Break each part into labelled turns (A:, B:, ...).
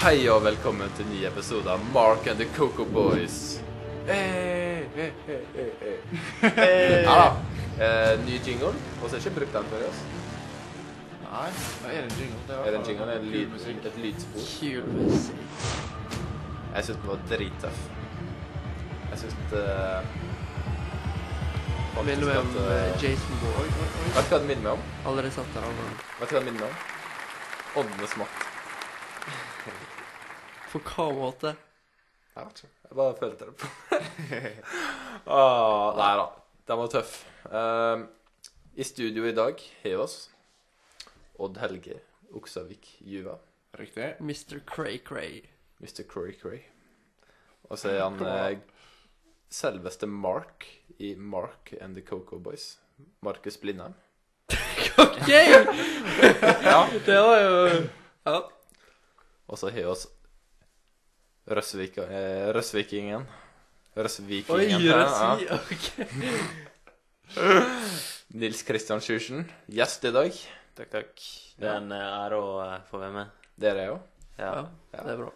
A: Hei og velkommen til ny episode av Mark and the Coco Boys.
B: Eh,
A: Hey, hey, hey, hey, hey. Ja da. Eh, ny jingle. Vi har ikke brukt den før. Altså.
B: Nei, det er en jingle. Det
A: Er det en jingle? Det er en
B: kul
A: lyd,
B: musikk.
A: et lydspor.
C: Kul musikk.
A: Jeg syns den var drittøff. Jeg syns eh, faktisk
C: Wilhelm
A: at, eh,
C: eh, Jason
B: Oi,
C: Bourne.
B: oi, oi.
A: Vet du hva den minner meg om?
C: Allerede satt der han var-
A: Vet du hva den minner meg om? Åndenes makt.
C: På hva måte?
A: Jeg vet ikke. Jeg bare følte det på ah, Nei da. Den var tøff. Ehm, I studio i dag har vi oss Odd Helge Oksavik Juva.
B: Riktig.
C: Mr. Cray Cray.
A: Mr. Corey Cray. Og så er han eh, selveste Mark i Mark and the Coco Boys. Markus Blindheim.
C: OK! Det var jo Ja.
A: Og så har vi oss Røsvik, eh, Røsvikingen.
C: Oi,
A: Røsvikingen. Ja, ja.
C: Røsi. OK.
A: Nils Kristian Sjursen, gjest i dag.
D: Takk, takk. Det er en eh, ære å eh, få være med.
A: Det er jeg jo.
D: Ja.
C: Ja, det er bra.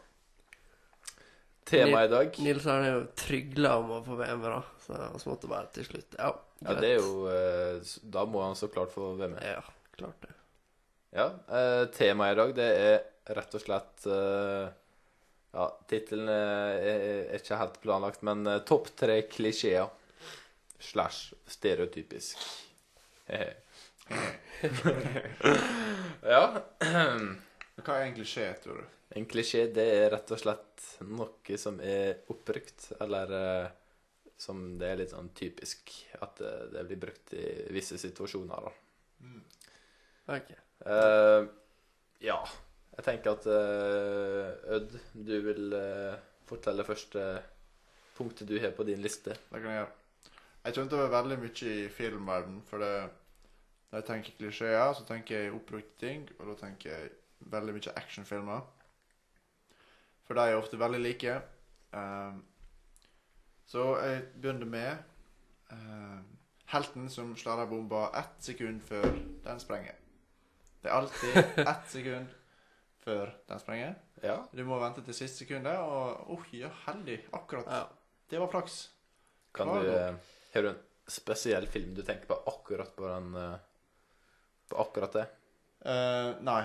A: Temaet i dag
C: Nils han er jo trygla om å få være med, da. Så han måtte bare til slutt. Ja,
A: Ja, det er jo eh, s- Da må han så klart få være med.
C: Ja, klart det.
A: Ja, eh, Temaet i dag, det er rett og slett eh, Ja, tittelen er, er- er ikke helt planlagt, men eh, 'Topp tre klisjeer slash stereotypisk'. ja.
B: Hva er egentlig skje, tror du?
A: En klisjé, det er rett og slett noe som er oppbrukt, eller eh, som det er litt sånn typisk at eh, det blir brukt i visse situasjoner, da.
C: OK.
A: Eh, ja. Jeg tenker at eh, Ødd, du vil eh, fortelle første punktet du har på din liste.
B: Det kan jeg gjøre. Jeg kjente over veldig mye i filmverden, for det, når jeg tenker klisjeer, så tenker jeg oppbrukte ting, og da tenker jeg veldig mye actionfilmer. For de er ofte veldig like. Ehm, så jeg begynner med ehm, helten som sladrer bomba ett sekund før den sprenger. Det er alltid ett sekund før den sprenger.
A: Ja.
B: Du må vente til siste sekundet, og åh, ja, heldig. Akkurat.
C: Ja.
B: Det var flaks.
A: Kan
B: Klar,
A: du
B: da.
A: eh, Har du en spesiell film du tenker på akkurat på den eh, På akkurat det?
B: Eh, nei.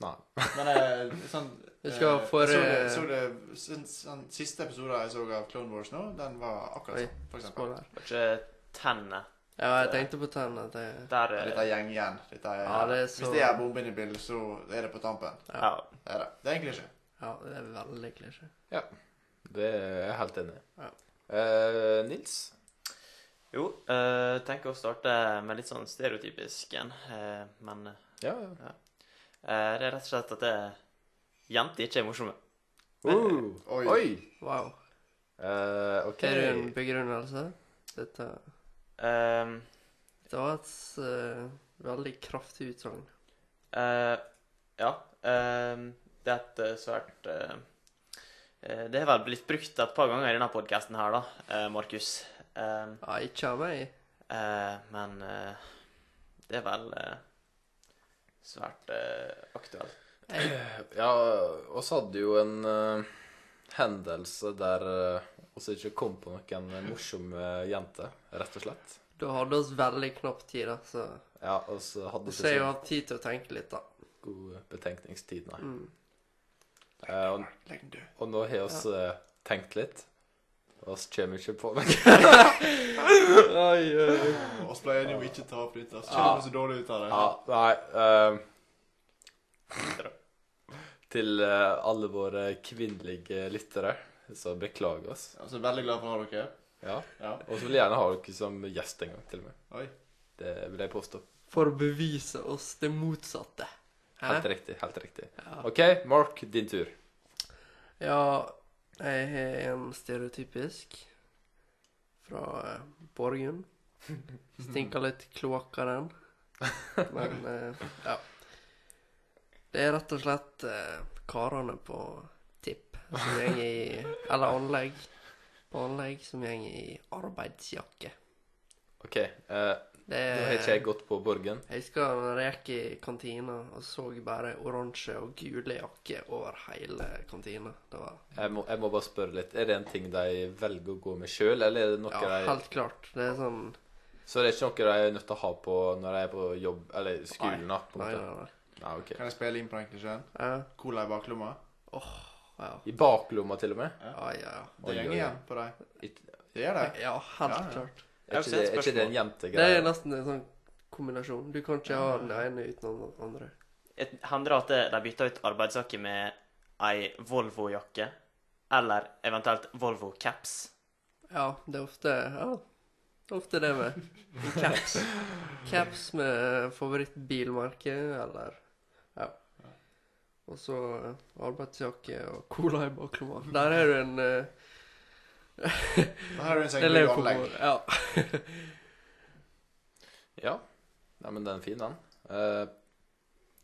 A: Nei.
B: Men eh, sånn
C: Vi skal
B: eh,
C: for,
B: jeg
C: eh,
B: så det, så det den, den siste episoden jeg så av Clone Wars nå, den var akkurat
C: Oi,
B: sånn, for eksempel.
C: Skål her.
D: Var ikke tennene
C: Ja, jeg tenkte på tennene. at jeg-
D: der eh,
B: Dette er gjeng igjen. Dette er,
C: Ja, det er så-
B: Hvis det er bombe inne i bildet, så er det på tampen.
D: Ja.
B: Det er det. Det er egentlig ikke.
C: Ja, det er veldig klisjé.
A: Det er jeg helt enig i.
C: Ja.
A: Eh, Nils?
D: Jo, eh, tenker å starte med litt sånn stereotypisk en, eh, men eh,
A: Ja, ja.
D: det er rett og slett at eh, jenter ikke er morsomme.
A: Uh,
B: Oi.
A: oi!
C: Wow.
A: Eh, OK.
C: Er det en begrunnelse? Dette
D: Eh,
C: Det var et eh, veldig kraftig utsagn.
D: eh, ja. eh, det er et eh, svært eh, eh, Det har vel blitt brukt et par ganger i denne podkasten her, da, eh, Markus. Eh,
C: Ja, ikke av meg.
D: Eh, men eh, det er vel eh, svært eh, aktuelt.
A: Ja, oss hadde jo en eh, hendelse der uh, oss ikke kom på noen morsom eh, jente, rett og slett.
C: Du hadde oss veldig knapp tid, da, så
A: Ja, og så hadde
C: du
A: vi
C: ser jo
A: ikke
C: hatt tid til å tenke litt, da.
A: så god betenkningstid, nei.
C: Mm.
A: Eh, og,
B: Legg den død.
A: og nå har vi tenkt litt. Og oss kommer ikke på noe.
B: Og så ble jeg enig om ikke ta opp litt. Altså, kjenner meg så dårlig ut av det.
A: Ja, nei eh, Til eh, alle våre kvinnelige lyttere, så beklager oss.
B: Altså, veldig glad for å ha dere.
A: Ja.
B: Ja.
A: Og så vil jeg gjerne ha dere som gjest en gang, til og med.
B: Oi.
A: Det vil jeg påstå.
C: For å bevise oss det motsatte.
A: Helt riktig. helt riktig.
C: Ja.
A: OK, Mark, din tur.
C: ja, jeg har en stereotypisk fra eh, Borgen. Stinker litt kloakk av den. Men eh, ja. Det er rett og slett eh, karene på tipp som går i Eller anlegg. På anlegg som går i arbeidsjakke.
A: OK. eh,
C: Det
A: Da har ikke jeg gått på Borgen.
C: Jeg husker når jeg gikk i kantina og så bare oransje og gule jakker over hele kantina. Det var
A: Jeg må, jeg må bare spørre litt. Er det en ting de velger å gå med sjøl, eller er det noe
C: ja,
A: de
C: helt klart. Det er sånn
A: Så det er ikke noe de er nødt til å ha på når de er på jobb, eller skolen, da? på en
C: Nei,
A: måte?
C: nei, nei.
A: Nei, ok.
B: Kan jeg spille inn på den klisjeen?
C: Ja,
B: Cola i baklomma.
C: ja.
A: I baklomma, til og med?
C: Ja, ja.
A: Oi,
B: Det går
A: oi, oi.
B: igjen på deg.
A: Ikke-
B: Det gjør det.
C: ja helt
B: Ja, ja.
C: klart.
A: Er ikke,
D: Jeg har
A: det,
D: sett
A: er ikke det en
D: spørsmål.
C: Det
A: jentegreie?
C: er nesten en sånn kombinasjon. Du kan ikke ha den ene uten den andre.
D: Et- Hender det at de bytter ut arbeidsjakke med ei Volvo-jakke? Eller eventuelt Volvo-caps?
C: Ja, det er ofte ja, det er ofte det med caps. Caps med favorittbilmerke, eller Ja. Og så eh, arbeidsjakke og cola i baklomma. Der har du en eh,
B: Da har du en seng
C: Det
B: med
C: lever på
B: anlegg.
C: bordet. Ja.
A: Ja. Nei, men den er fin, den. Eh,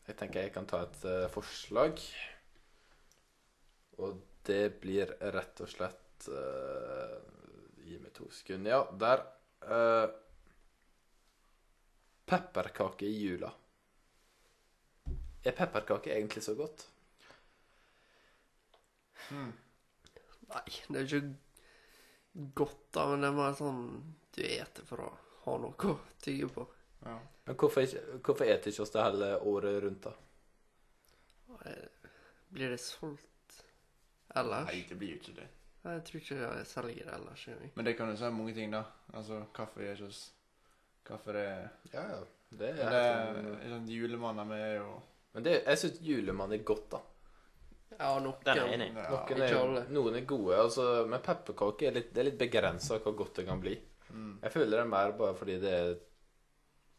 A: jeg tenker jeg kan ta et eh, forslag. Og det blir rett og slett eh, Gi meg to sekunder. Ja, der. Uh, pepperkake i jula. Er pepperkake egentlig så godt?
B: Hmm.
C: Nei, det er ikke godt, da, men det er mer sånn du eter for å ha noe å tygge på.
B: Ja.
A: Men hvorfor, ikke, hvorfor eter ikke oss det hele året rundt, da?
C: Eh, Blir det solgt ellers?
B: Nei, det blir jo ikke det.
C: Nei, Jeg tror ikke jeg selger det ellers. egentlig.
B: Men det kan jo si mange ting, da. Altså, kaffe er ikke oss Kaffe er
A: Ja, ja. Det
B: Men
A: er,
B: det er sånn Julemannen vi er jo
A: Men det, jeg syns julemann er godt, da.
C: Ja, noen.
D: Den er jeg enig
B: ja.
D: i.
A: Noen
C: ikke
A: er,
C: alle.
A: noen er gode, altså, men pepperkaker er litt, det er litt begrensa hvor godt det kan bli.
B: Mm.
A: Jeg føler det er mer bare fordi det er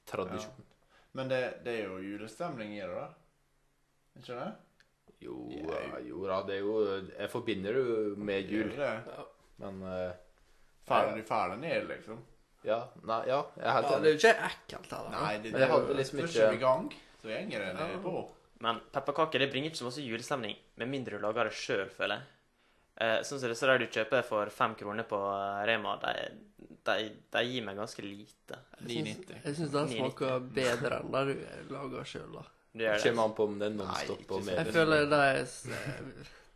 A: tradisjon.
B: Men det, det er jo julestemning i det, da. Ikke det?
A: Jo,
B: Ja.
A: ja, jo da, det er jo Jeg forbinder det jo med jul,
B: Det er jo det.
C: Ja.
A: men eh,
B: Fæl- Du fæler ned, liksom.
A: Ja, nei, ja, jeg er helt
C: Ja, det
A: enig.
C: er jo ikke ekkelt heller. da.
B: Nei, det,
A: Men jeg
B: er jo-
A: hadde liksom
B: først
A: ikke-
B: er vi i gang, så gjenger det ned
C: Ja.
B: på.
D: Men pepperkaker det bringer ikke så masse julestemning, med mindre du lager det sjøl, føler jeg. Eh, sånn som disse der du kjøper for fem kroner på eh, Rema, de, de, de gir meg ganske lite.
C: Jeg syns-
B: 9,90.
C: Jeg syns den
D: 9,90.
C: smaker bedre enn det du lager sjøl, da.
D: Du
A: Det
D: gjør det.
A: kommer an på om det er nonstop og
B: Nei, ikke
A: mer.
C: Jeg føler det er s-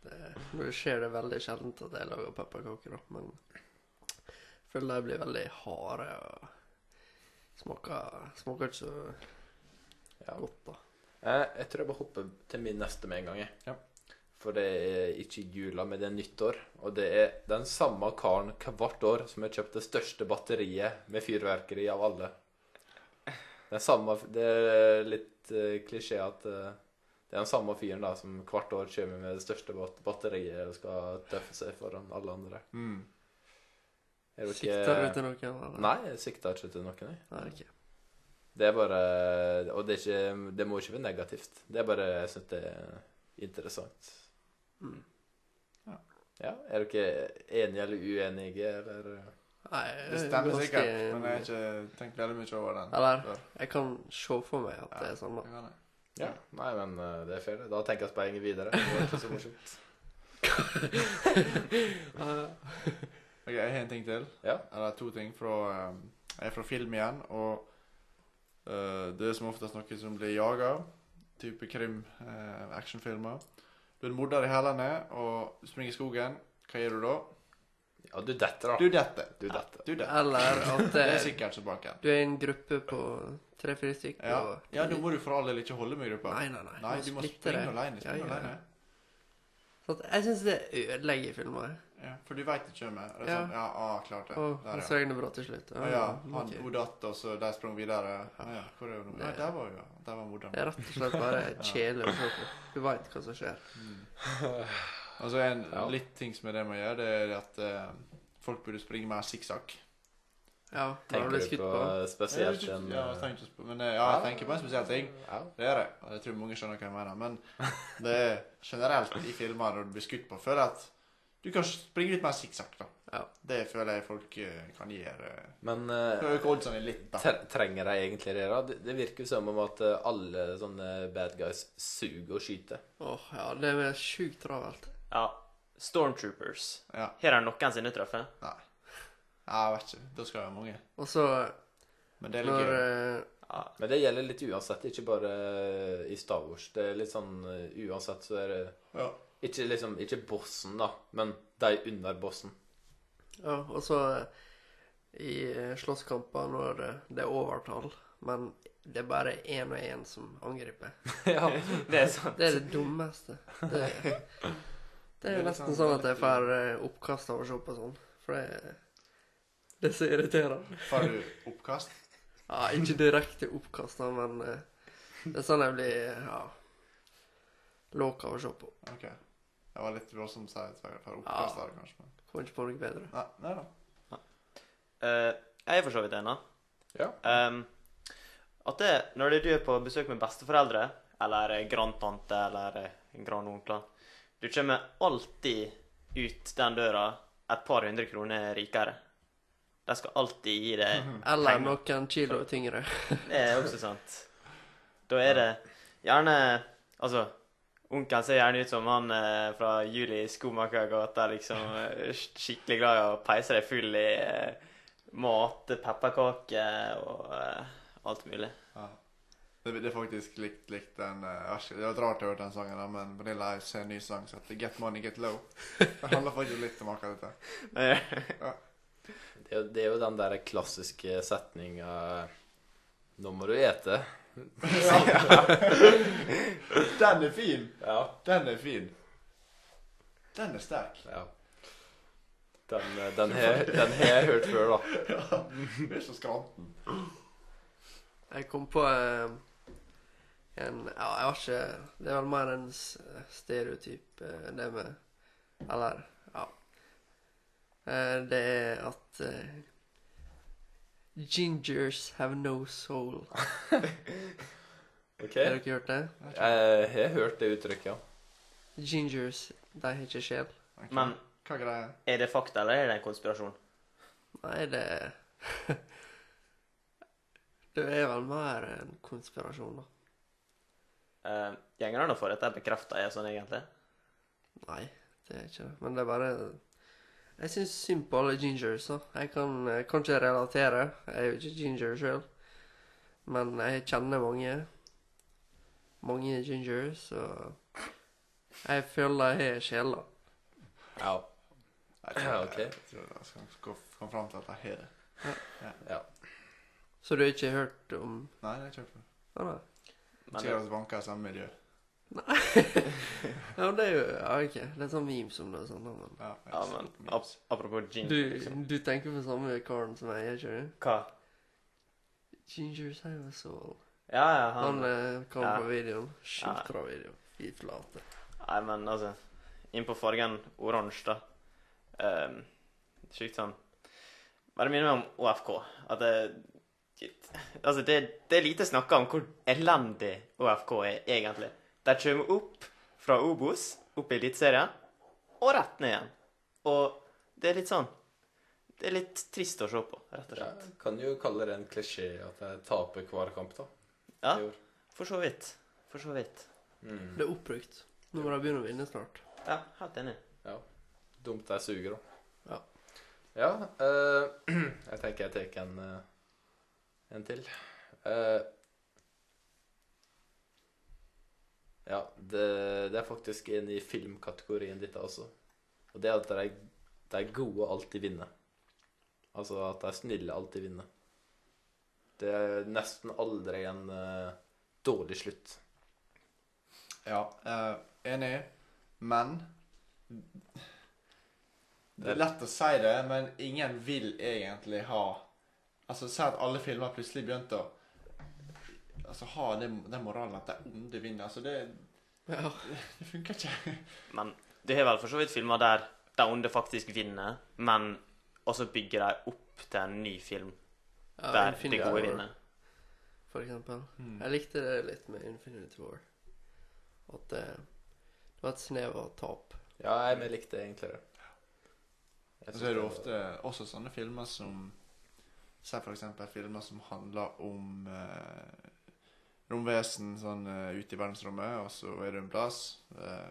C: det- Nå skjer det veldig sjelden at jeg lager pepperkaker, da, men jeg føler de blir veldig harde og smaker, smaker ikke så
A: Ja.
C: godt, da.
A: Eh, jeg tror jeg bare hopper til min neste med en gang. jeg.
B: Ja.
A: For det er ikke jula, men det er nyttår. Og det er den samme karen hvert år som har kjøpt det største batteriet med fyrverkeri av alle. Den samme, det er litt eh, klisjé at eh, det er den samme fyren da som hvert år kommer med det største bat batteriet og skal tøffe seg foran alle andre.
B: Mm.
A: Er dere-
C: Sikter du til noe? Eller?
A: Nei, jeg sikter ikke til noen. Jeg.
C: Nei, ok.
A: Det er bare Og det, er ikke, det må ikke være negativt. Det er bare Jeg syns det er interessant.
C: Mm.
B: Ja.
A: Ja. Er dere enige eller uenige, eller
C: Nei, jeg er
B: Det stemmer
C: ganske-
B: sikkert, men jeg har ikke tenkt veldig mye over den.
C: Eller, jeg kan se for meg at det er sånn, da.
B: Det kan jeg.
A: Ja. Nei, men eh, det er fair. det. Da tenker jeg speilet videre. Det var ikke så morsomt.
B: Ok, Jeg har en ting til.
A: Ja.
B: Eller to ting. Fra, um, jeg er fra film igjen, og uh, det er som oftest noe som blir jaga. Type krim, uh, actionfilmer. Du er en morder i hælene og springer i skogen. Hva gjør du da?
A: Ja, du detter,
B: Du
A: da.
B: detter.
A: Du detter.
B: Du detter.
C: Eller at
B: Det er
C: det,
B: sikkert som baken.
C: du er i en gruppe på tre-fire stykker.
B: Ja.
C: og-
B: ja, nå må du for all del ikke holde med gruppa.
C: Nei, nei, nei.
B: Nei, du må
C: splitte
B: springe
C: det.
B: alene.
C: Ja,
B: Springe
C: ja, ja.
B: alene.
C: Sånn at jeg syns det ødelegger filmer.
B: Ja, for du veit det kommer. Det er
C: Ja.
B: sånn, ja, ah, klart det.
C: Og
B: Der,
C: så
B: ja.
C: er det bra til slutt.
B: Å ja,
C: ok.
B: han hun datt, og så de sprang videre. Å ja, hvor er hun nå? Ja,
C: Det-
B: der var hun, ja. Der var
C: Det
B: morderen.
C: er rett og slett bare kjedelig å se på. Du veit hva som skjer.
B: Altså, Mm. en
A: Ja.
B: litt ting som er det med å gjøre, det er at eh, folk burde springe mer sikksakk.
C: Ja, når du
A: Tenker
C: blir
A: du
C: skutt
A: på
C: på.
A: spesielt en
B: Ja, jeg tenker ikke på- men eh, ja, jeg tenker på en spesiell ting.
A: Ja.
B: Det gjør jeg. Og jeg tror mange skjønner hva jeg mener. Men det er generelt i filmer når du blir skutt på, føler jeg at du kan springe litt mer sikksakk, da.
C: Ja.
B: Det føler jeg folk eh, kan gjøre.
A: Men eh,
B: Øke oddsene litt, sånn, da.
A: tre- trenger de egentlig det, da? Det, det virker som om at eh, alle sånne bad guys suger å skyte.
C: Åh, ja, det er sjukt travelt.
D: Ja. Stormtroopers.
B: Ja.
D: Her er noensinne truffet.
B: Nei. Nei, Jeg vet ikke. Da skal jeg ha mange.
C: Og så
B: Men det er litt
C: Når
B: gøy.
C: eh,
D: Ja.
A: Men det gjelder litt uansett, ikke bare i Star Wars. Det er litt sånn eh, Uansett så er det
B: Ja.
A: ikke liksom Ikke bossen, da, men de under bossen.
C: Ja, og så eh, i eh, slåsskamper når det, det er overtall, men det er bare én og én som angriper.
A: ja.
D: Det er sånn. sant.
C: Det er det dummeste. Det, det
B: Det er
C: er
B: litt
C: nesten
B: sånn-
C: sånn at
B: det er litt-
C: jeg får eh, oppkast av å se på sånn, for det, det er så irriterende.
B: Får du oppkast?
C: Ja, ikke direkte oppkast, da, men eh, det er sånn jeg blir ja, låk av å se på.
B: OK. Det var litt voldsomt å si at jeg får oppkast av det, kanskje. Men.
C: Kommer ikke på noe bedre.
B: Nei, nei da.
D: Eh, jeg er for så vidt enig.
A: Ja.
D: Ehm, at det, når du er på besøk med besteforeldre, eller eh, grandtante eller eh, grandonkler Du kommer alltid ut den døra et par hundre kroner rikere. De skal alltid gi deg
C: Eller
D: Penger.
C: noen kilo tyngre.
D: Det er også sant. Da er det gjerne Altså, onkelen ser gjerne ut som han eh, fra Juli i Skomakergata, liksom. eh, Skikkelig glad i å peise deg full i eh, mat, pepperkaker og eh, alt mulig.
B: Ja. Det, det er faktisk likt, likt den eh, vers- Det var rart jeg hørte den sangen, da, men Vanilla Ice har en ny sang som heter Get Money, Get Low. Det handler faktisk litt om akkurat dette.
A: Det, er jo- det er jo den der klassiske setninga Nå må du ete.
B: Den er fin!
A: Ja.
B: Den er fin. Den er sterk.
A: ja. Den, eh, den, har, den har jeg hørt før, da.
B: Du er så skranten.
C: Jeg kom på eh, en Ja, jeg har ikke Det er vel mer en s- stereotyp, eh, det med Eller, ja. Eh, det er at eh, Gingers have no soul.
A: Ok?
C: Har dere hørt det?
A: Jeg har hørt det uttrykket, ja.
C: Gingers, de har ikke sjel.
B: Ok.
D: Men
B: Hva er greia?
D: er det fakta, eller er det en konspirasjon?
C: Nei, det Det er vel mer en konspirasjon, da.
D: Uh, Gjenger det an å få dette bekrefta, er sånn egentlig?
C: Nei, det er ikke det. Men det er bare Jeg syns synd på alle gingers, da. Jeg kan, jeg kan ikke relatere. Jeg er jo ikke ginger sjøl. Men jeg kjenner mange. Mange gingers, og jeg føler jeg har sjela.
A: ja.
B: Nei, jeg tror-
A: Ok.
B: Jeg tror jeg skal gå- komme fram til at jeg har det.
C: Så du har ikke hørt om
B: Nei, det er ikke det.
C: Å, nei.
D: Men
B: Sikkert at banker i samme miljø.
C: Ja, men det er jo ja, OK. Det er sånn memes om det og sånn, da, men
B: Ja, jeg
D: ja,
B: ser
D: men
B: på
D: ap apropos gin liksom.
C: du, du tenker på samme karen som jeg, gjør ikke du?
D: Hva?
C: Ginger Savasol.
D: Ja, ja, han
C: Han eh, kom
D: Ah, ja.
C: på videoen.
D: Ja.
C: Sjukt bra video. Fy flate.
D: Nei, men altså Inn på fargen oransje, da. Um, Sjukt sånn Bare minner meg om OFK. At det Shit. Altså, det, det er lite snakka om hvor elendig OFK er, egentlig. De kommer opp fra Obos, opp i Eliteserien, og rett ned igjen. Og det er litt sånn Det er litt trist å se på, rett og slett.
A: Jeg kan jo kalle det en klisjé at jeg taper hver kamp, da.
D: Ja.
A: I år.
D: For så vidt. For så vidt.
A: Mm.
C: Det er oppbrukt. Nå må de begynne å vinne snart.
D: Ja, helt enig.
A: Dumt jeg suger, da.
C: Ja.
A: Ja, eh, jeg tenker jeg tar en, eh, en til. Eh, ja, det, det er faktisk en i filmkategorien ditt også. Og det er at de, de gode alltid vinner. Altså at de snille alltid vinner. Det er nesten aldri en eh, dårlig slutt.
B: Ja, eh, enig, men Det er lett å si det, men ingen vil egentlig ha Altså, Si at alle filmer plutselig begynte å Altså, ha den, den moralen at de onde vinner. Altså, det,
C: Ja.
B: det funker ikke.
D: Men det har vel for så vidt filmer der de onde faktisk vinner, men og så bygger de opp til en ny film der de
C: Infinity
D: gode
C: War,
D: vinner.
C: For eksempel.
D: Mm.
C: Jeg likte det litt med Infinity War. At det, det var et snev av tap.
A: Ja, jeg likte egentlig det. Jeg
B: Og
A: synes
B: Altså, Så er det
A: var-
B: ofte også sånne filmer som Se for eksempel filmer som handler om eh, romvesen sånn eh, ute i verdensrommet, og så er det en plass eh,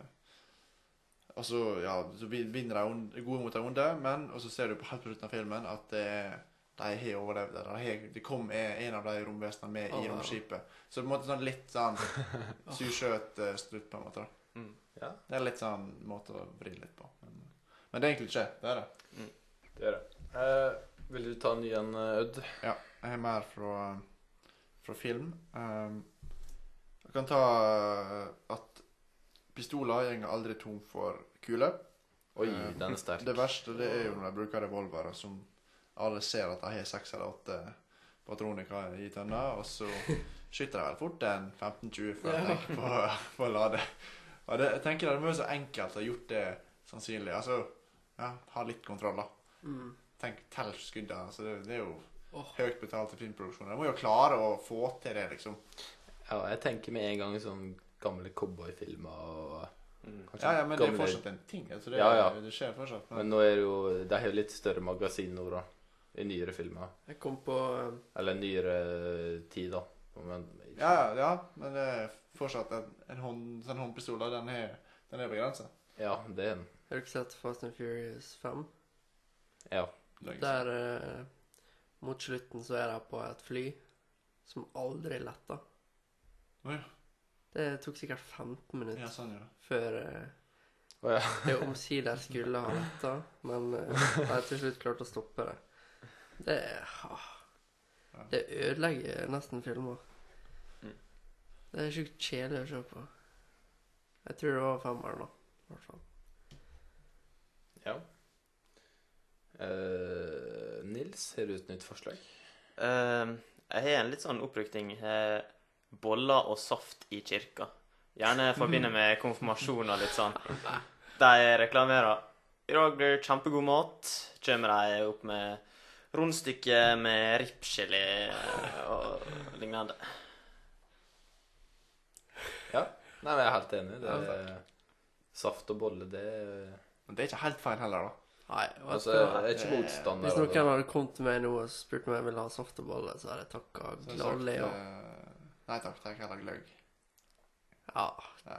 B: Og så ja, så vin- vinner de ond- gode mot de onde, men og så ser du på helt på slutten av filmen at det er de har overlevd det. De har- Det kom en av de romvesenene med
C: Å,
B: i
C: ja.
B: romskipet. Så på en måte sånn litt sånn sursøt eh, slutt, på en måte. da.
D: Mm.
A: Ja,
B: Det er litt sånn måte å vri litt på. Men, men det er egentlig ikke det. er det.
A: det gjør det. Eh, vil du ta en ny en, eh, Ødd?
B: Jeg har mer fra, fra film. Ehm, jeg kan ta eh, at pistoler gjenger aldri tom for kuler.
A: Oi,
B: Eh,
A: den er sterk.
B: Det verste det er jo når de bruker revolvere som alle ser at de har seks eller åtte patroner i tønna, og så skyter de vel fort en 15-20 før de
C: Ja.
B: tenker på, på å lade. Og det, jeg tenker det må være så enkelt å ha gjort det sannsynlig. Altså, ja, ha litt kontroll, da.
C: Mm.
B: Tenk, tell skuddene. Altså, det, det er jo
C: Åh.
B: høyt betalte filmproduksjoner. De må jo klare å få til det, liksom.
A: Ja, jeg tenker med en gang sånn gamle cowboyfilmer og
D: Mm.
A: kanskje
B: Ja, ja, men det er
A: gamle-
B: fortsatt en ting. Altså, det,
A: Ja, ja.
B: det skjer fortsatt.
A: Men nå er det jo De har jo litt større magasin nå, da. I nyere filmer.
C: Jeg kom på eh,
A: Eller nyere tid, da. Men
B: Ja, ja, ja, men det er fortsatt en, en hånd, sånn håndpistol, da, den er, den er begrensa.
A: ja, det er den.
C: Har du ikke sett Fast and Furious 5?
A: Ja.
C: Der eh, mot slutten så er de på et fly som aldri letter.
B: Å ja.
C: Det tok sikkert 15 minutter
B: Ja, sånn, ja.
C: før eh,
A: Å, ja.
C: jeg omsider skulle ha letta, men eh, jeg til slutt klarte å stoppe det. Det, ah,
B: Ja.
C: det ødelegger nesten filmer.
D: Mm.
C: Det er sjukt kjedelig å se på. Jeg tror det var femmeren, da. i hvert fall.
A: ja. Eh, Nils, har du et nytt forslag?
D: Ehm, jeg har en litt sånn opprykting. Eh, boller og saft i kirka. Gjerne forbinder med konfirmasjon og litt sånn. De reklamerer. I dag blir det kjempegod mat. Kommer de opp med rundstykke med ripsgelé og lignende.
A: Nei, men jeg er helt enig. Det
C: Ja,
A: er Saft og bolle, det er
B: Men det er ikke helt feil heller, da.
C: Nei, vet
A: Altså,
C: du
A: jeg
C: hva?
A: er ikke motstander
C: Hvis
A: av
C: noen
A: det.
C: hadde kommet til meg nå og spurt om jeg ville ha saftebolle, så hadde jeg takka
B: Så jeg har
C: gladelig.
B: sagt,
C: Ja.
B: eh, Nei takk, det er ikke heller gløgg.
C: Ja.
B: Ja.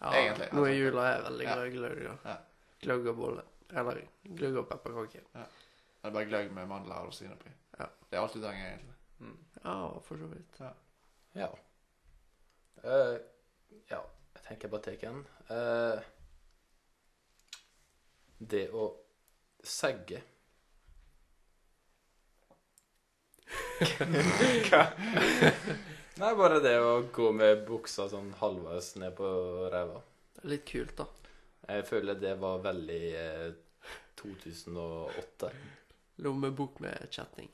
C: Ja,
B: Egentlig,
C: Nå
B: altså.
C: i jula er jeg veldig
B: Ja.
C: glad i gløgg. da.
B: Ja.
C: Gløgg og bolle. Eller gløgg og pepperkaker.
B: Det er bare gløgg med mandler og rosiner oppi.
C: Ja.
B: Det er alt du trenger, egentlig.
C: Ja, for så vidt.
A: Ja. Eh, ja, jeg tenker jeg bare tar en. Eh, det å segge Hva? Nei, bare det å gå med buksa sånn halvveis ned på ræva.
C: Det er Litt kult, da.
A: Jeg føler det var veldig eh, 2008.
C: Lommebok med kjetting.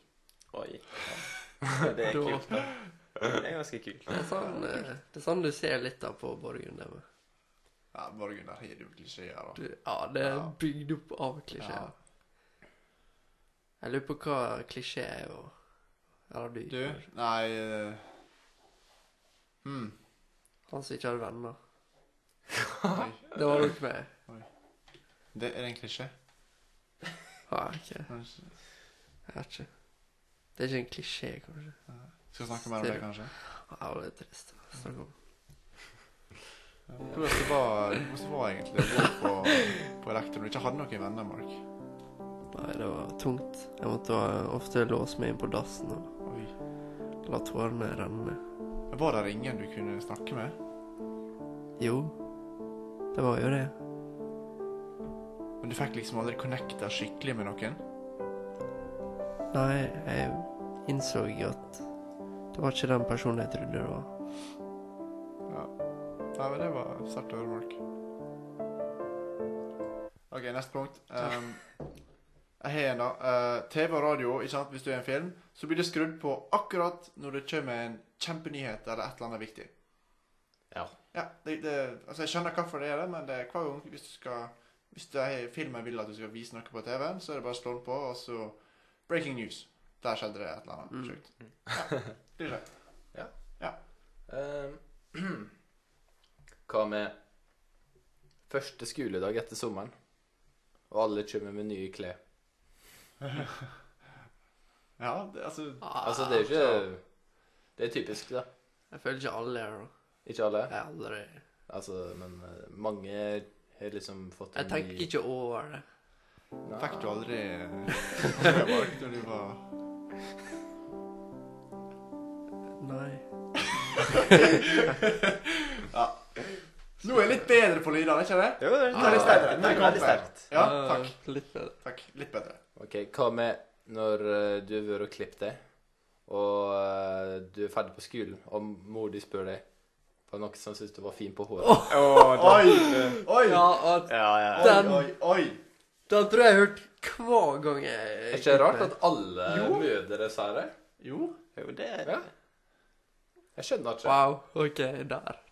D: Oi. Ja. Det
C: Da-
D: er kult. da. Det er ganske kult.
C: Det er sånn, eh, det er sånn du ser litt av på Borgen. Det med.
B: Ja, Borgen, der har du klisjeer, da.
C: Du, ja, det er
B: Ja.
C: bygd opp av klisjeer. Jeg lurer på hva klisjé er. Og, eller du,
B: Du? Nei eh, Hm.
C: Han som ikke hadde venner.
B: Oi.
C: Det var nok meg.
B: Det er det en klisjé.
C: Ja, ok. Jeg
B: Kanskje-
C: vet ikke. Det er ikke en klisjé, kanskje.
B: Skal snakke mer om det, kanskje?
C: Ja, det er trist å snakke om.
B: Hvordan det var, hvordan det var egentlig å gå på, på elektro når du ikke hadde noen venner, Mark?
C: Nei, det var tungt. Jeg måtte eh, ofte låse meg inn på dassen og
B: Oi.
C: la tårene renne.
B: Men Var det ingen du kunne snakke med?
C: Jo, det var jo det.
B: Men du fikk liksom aldri connecta skikkelig med noen?
C: Nei, jeg innså at det var ikke den personen jeg trodde det var.
B: Nei, men det var sterkt å høre, Mark. OK, neste punkt. Um, jeg har en, da. Eh, TV og radio, ikke sant, hvis du er en film, så blir det skrudd på akkurat når det kommer en kjempenyhet eller et eller annet viktig.
A: Ja.
B: Ja, det, det, altså Jeg skjønner hvorfor det er det, men det er hver gang hvis du skal Hvis det er filmen vil at du skal vise noe på TV-en, så er det bare å slå den på, og så Breaking news. Der skjedde det et eller annet
C: Mm.
B: sjukt. Ja, blir det.
A: Eh, hva med første skoledag etter sommeren, og alle kommer med nye klær?
B: Ja, det, altså
A: Altså, det er jo ikke Det er typisk, da.
C: Jeg føler ikke alle er det.
A: Ikke alle.
C: Jeg er aldri
A: Altså, men eh, mange har liksom fått
C: Jeg tenker ikke over det.
B: Fikk du aldri sjømark når du var
C: Nei.
B: Nå er jeg litt bedre på lydene, ikke det?
D: Jo, det
B: Ja,
D: er litt sterkt. Det er veldig sterkt.
B: Ja, takk.
C: Eh, Litt bedre.
B: takk. Litt bedre.
A: OK, hva med når eh, du har vært og klippet deg, og eh, du er ferdig på skolen, og mor di spør deg på noe som syns du var fin på håret?
B: Oi! Oi!
C: Ja, at
D: Ja, ja.
B: Oi,
C: den-
B: oi, oi!
C: Den tror jeg jeg har hørt hver gang jeg
A: Er ikke det rart at alle
B: Jo.
A: mødre sier det?
B: Jo.
D: Jo, det er
A: Ja. Jeg skjønner ikke.
C: Wow. OK, der.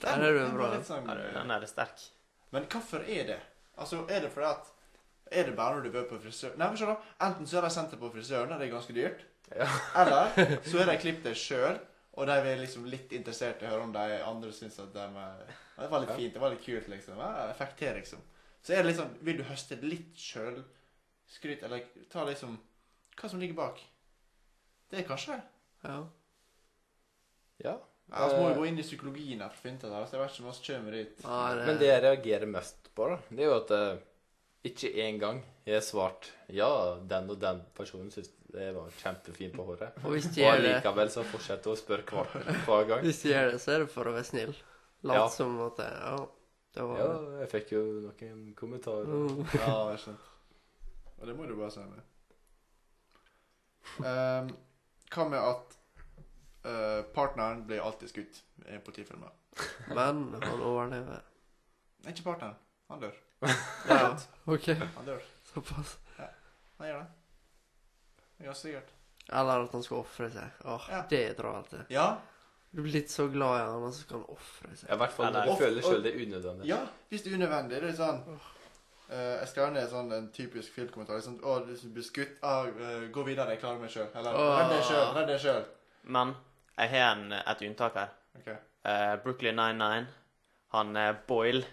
C: Der er du
B: Den
C: bra.
B: var litt sånn-
D: Ja, du, Den er litt sterk.
B: Men hvorfor er det? Altså, er det fordi at Er det bare når du bør på frisøren? Nei, men skjønner du, Enten så har de sendt deg på frisøren, og det er ganske dyrt.
A: Ja.
B: Eller så har de klippet deg sjøl, og de er liksom litt interessert i å høre om de andre syns at de er «Ja, Det var litt
A: Ja.
B: fint, det var litt kult, liksom. Ja, jeg fikk til, liksom. Så er det liksom Vil du høste litt sjølskryt, eller ta liksom Hva som ligger bak? Det er kanskje det.
C: Ja.
A: Ja.
B: Ja, så må
A: Eh.
B: vi gå inn i psykologien her for å finne ut av det. altså, Jeg vet ikke om vi kommer dit.
C: Ja, det,
A: Eh, Men det jeg reagerer mest på, da, det er jo at eh, ikke én gang jeg har svart ja, den og den personen syns det var kjempefint på håret.
C: Og hvis de
A: Og
C: gjør det,
A: likevel så fortsetter hun å spørre hver, hver gang.
C: hvis de gjør det, så er det for å være snill. Lat
A: Ja.
C: som at det, Ja, det var
A: Ja, jeg fikk jo noen kommentarer.
C: Mm.
B: Ja, det er sant. Og det må du bare si med. Ehm, hva med at eh, partneren blir alltid skutt i politifilmer?
C: Men han overlever.
B: Nei, ikke partneren. Han dør.
C: Ja, OK.
B: Han dør.
C: Såpass.
B: Han gjør det. Det er ganske sikkert.
C: Eller at han skal ofre seg. Åh,
B: Ja.
C: Det er dralt. det.
B: Ja,
C: Du blir litt så glad i han, og så skal han ofre
A: Ja, I
C: seg.
A: hvert fall når
D: Eller-
A: du føler sjøl det er unødvendig.
B: ja, hvis det er unødvendig. Det er sånn eh, Jeg skrev ned sånn en typisk filmkommentar. Liksom, å, du blir skutt. Ah, eh, gå videre, jeg klarer meg sjøl. Eller
C: Åh.
B: redd deg sjøl, redd deg sjøl.
D: Men jeg har en, et unntak her.
B: Ok.
D: Eh, Brooklyn 99. Han eh, Boyle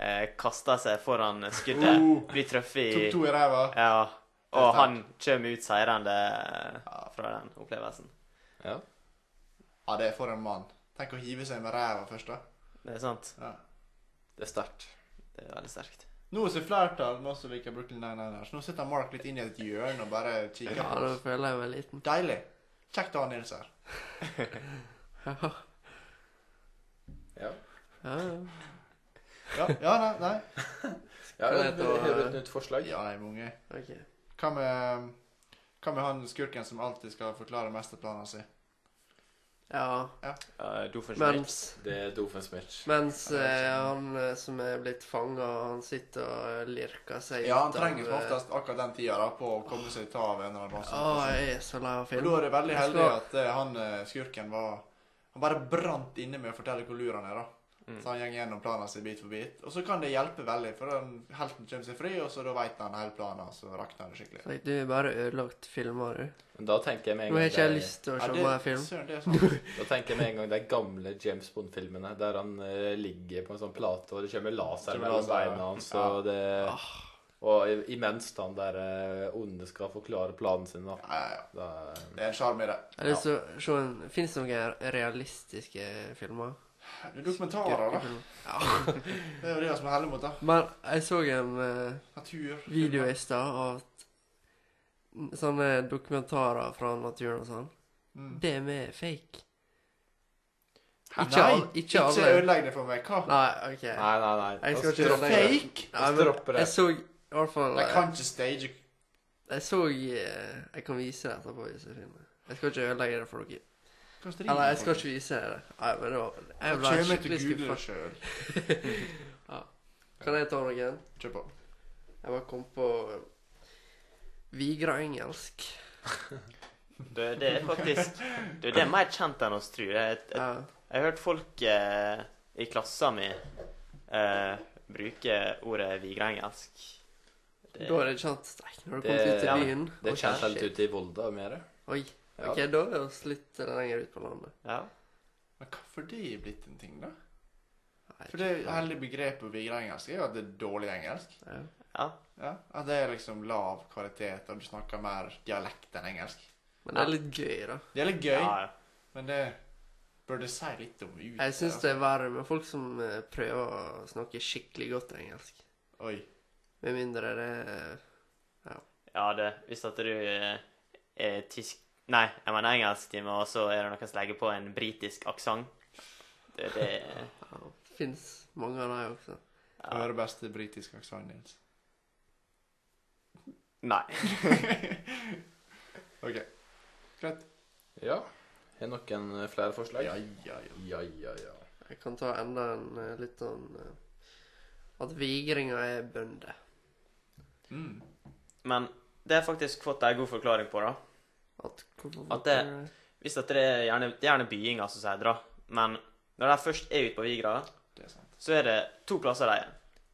D: eh, kaster seg foran skuddet,
B: Oh.
D: blir truffet i
B: Tok to i ræva.
D: Ja.
B: Det er
D: Og han kommer ut seirende eh,
B: Ja.
D: fra den opplevelsen.
A: Ja.
B: Ja, det er for en mann. Tenk å hive seg med ræva først, da.
D: Det er sant.
B: Ja.
A: Det er sterkt.
D: Det er veldig sterkt.
B: Nå er det flertall med oss som liker Brooklyn Nine-Nine. Så nå sitter Mark litt inn i et hjørne og bare kikker
C: Ja,
B: på
C: da
B: oss.
C: føler jeg meg liten.
B: Deilig. Kjekt å ha Nils her.
C: Ja,
A: Ja.
C: ja.
B: Ja, ja nei, nei.
A: Ja,
C: Kan
A: det
C: jeg
A: er
C: ta-
A: helt et nytt forslag.
B: Ja, nei, mange.
C: OK.
B: Hva med hva med han skurken som alltid skal forklare mesterplanen sin?
C: Ja.
D: Eh, du får ikke
C: Mens
A: Det er Doofensmitch.
C: Mens
B: Ja, det er
C: eh,
B: sånn.
C: han eh, som er blitt fanga, han sitter og lirker seg
B: Ja, han
C: av,
B: trenger som
C: eh,
B: oftest akkurat den tida da, på å komme seg ut av en eller annen
C: Å,
B: plass.
C: jeg er så lei av
B: Og
C: film.
B: da er det veldig
C: Jeg
B: heldig
C: skal-
B: at eh, han eh, skurken var Han bare brant inne med å fortelle hvor lur han er, da.
D: Mm.
B: Så han går gjennom planen sin bit for bit. Og så kan det hjelpe veldig, for den helten kommer seg fri, og så da veit han hele planen, så rakner det skikkelig.
C: Så jeg- Du er bare ødelagt filmer, du.
A: Men da tenker jeg med en
C: Nå har
A: gang
C: ikke jeg
A: de-
C: lyst til å
B: Ja,
C: se
B: det-
C: mer film.
B: Søren, det er sånn- sant.
A: Da tenker jeg med en gang de gamle James Bond-filmene, der han eh, ligger på en sånn plate, og det kommer laser
B: Kommer
A: mellom
B: laser, ja.
A: beina hans, og det Og i- imens han der eh, onde skal forklare planen sin, da.
B: Ja, ja, ja.
A: da eh,
B: Det er en sjarm i det.
C: Jeg har lyst til å se en Fins det noen realistiske filmer?
B: Det er dokumentarer, da.
C: Skurkefilmer?
B: Det er jo det som er heldig mot det.
C: Men jeg så en eh,
B: Natur.
C: video i stad av t- sånne dokumentarer fra naturen og sånn.
B: Mm.
C: Det med fake.
B: Nei,
C: Ikke alle. Ikke
B: Ikke
C: alle.
B: ødelegg det for meg. Hva?
C: Nei, OK.
A: Nei, nei, nei.
C: Jeg
A: Da
C: skal ikke
A: stropper
C: ødelegge
A: jeg.
B: Fake?
C: Nei, men
A: Stropper det.
C: jeg så i hvert fall
B: De
C: eh,
B: kan ikke stage
C: Jeg så eh, Jeg kan vise det etterpå hvis jeg finner det. Jeg skal ikke ødelegge det for dere.
B: Hva strider
C: Eller, jeg
B: folk?
C: skal ikke vise dere det. Nei, men det var
B: Da
C: Jeg ble
B: kommer jeg til
C: skikkelig
B: å google det
C: skuffa.
B: sjøl.
C: Kan jeg ta noen?
B: Kjør på.
C: Jeg bare kom på eh, Vigra engelsk.
D: Du, det er faktisk Du, det er mer kjent enn oss tror. Jeg, jeg,
C: Ja.
D: jeg har hørt folk eh, i klassa mi eh, bruke ordet vigreengelsk. Det,
C: Da er det kjent streik når du kommer
A: Det-
C: ut til
A: ja,
C: byen.
A: Det
C: og
A: er kjent helt
C: shit.
A: ute i Volda mer.
C: Oi.
A: Ja.
C: Ok, da er vi oss litt lenger ut på landet.
D: ja.
B: Men hvorfor det er blitt en ting, da?
C: Nei,
B: For det heldige begrepet vigra engelsk er jo at det er dårlig engelsk.
C: ja.
D: ja.
B: Ja, At det er liksom lav kvalitet, og du snakker mer dialekt enn engelsk.
C: Men det er litt gøy, da.
B: Det er litt gøy,
D: Ja, ja.
B: men det bør det si litt om ut.
C: Jeg syns det er verre med folk som eh, prøver å snakke skikkelig godt engelsk.
B: Oi.
C: Med mindre det er
D: Ja, det, hvis at du eh, er tysk Nei, jeg mener engelsktime, og så er det noen som legger på en britisk aksent. Det, det
C: Ja, det finnes mange av dem også.
B: Hva
D: ja.
B: er det beste britiske aksenten, Nils?
D: Nei.
B: OK. Greit.
A: Ja. Har noen eh, flere forslag?
B: Ja, ja, ja.
A: ja, ja. ja.
C: Jeg kan ta enda en eh, litt sånn eh, At vigringer er bønder.
B: Mm.
D: Men det har jeg faktisk fått en god forklaring på, da.
C: At, hvorfor-
D: At det- Hvis at det er gjerne, det er gjerne byinger som sier dra, men når de først er ute på Vigra,
B: Det er sant.
D: så er det to plasser de er.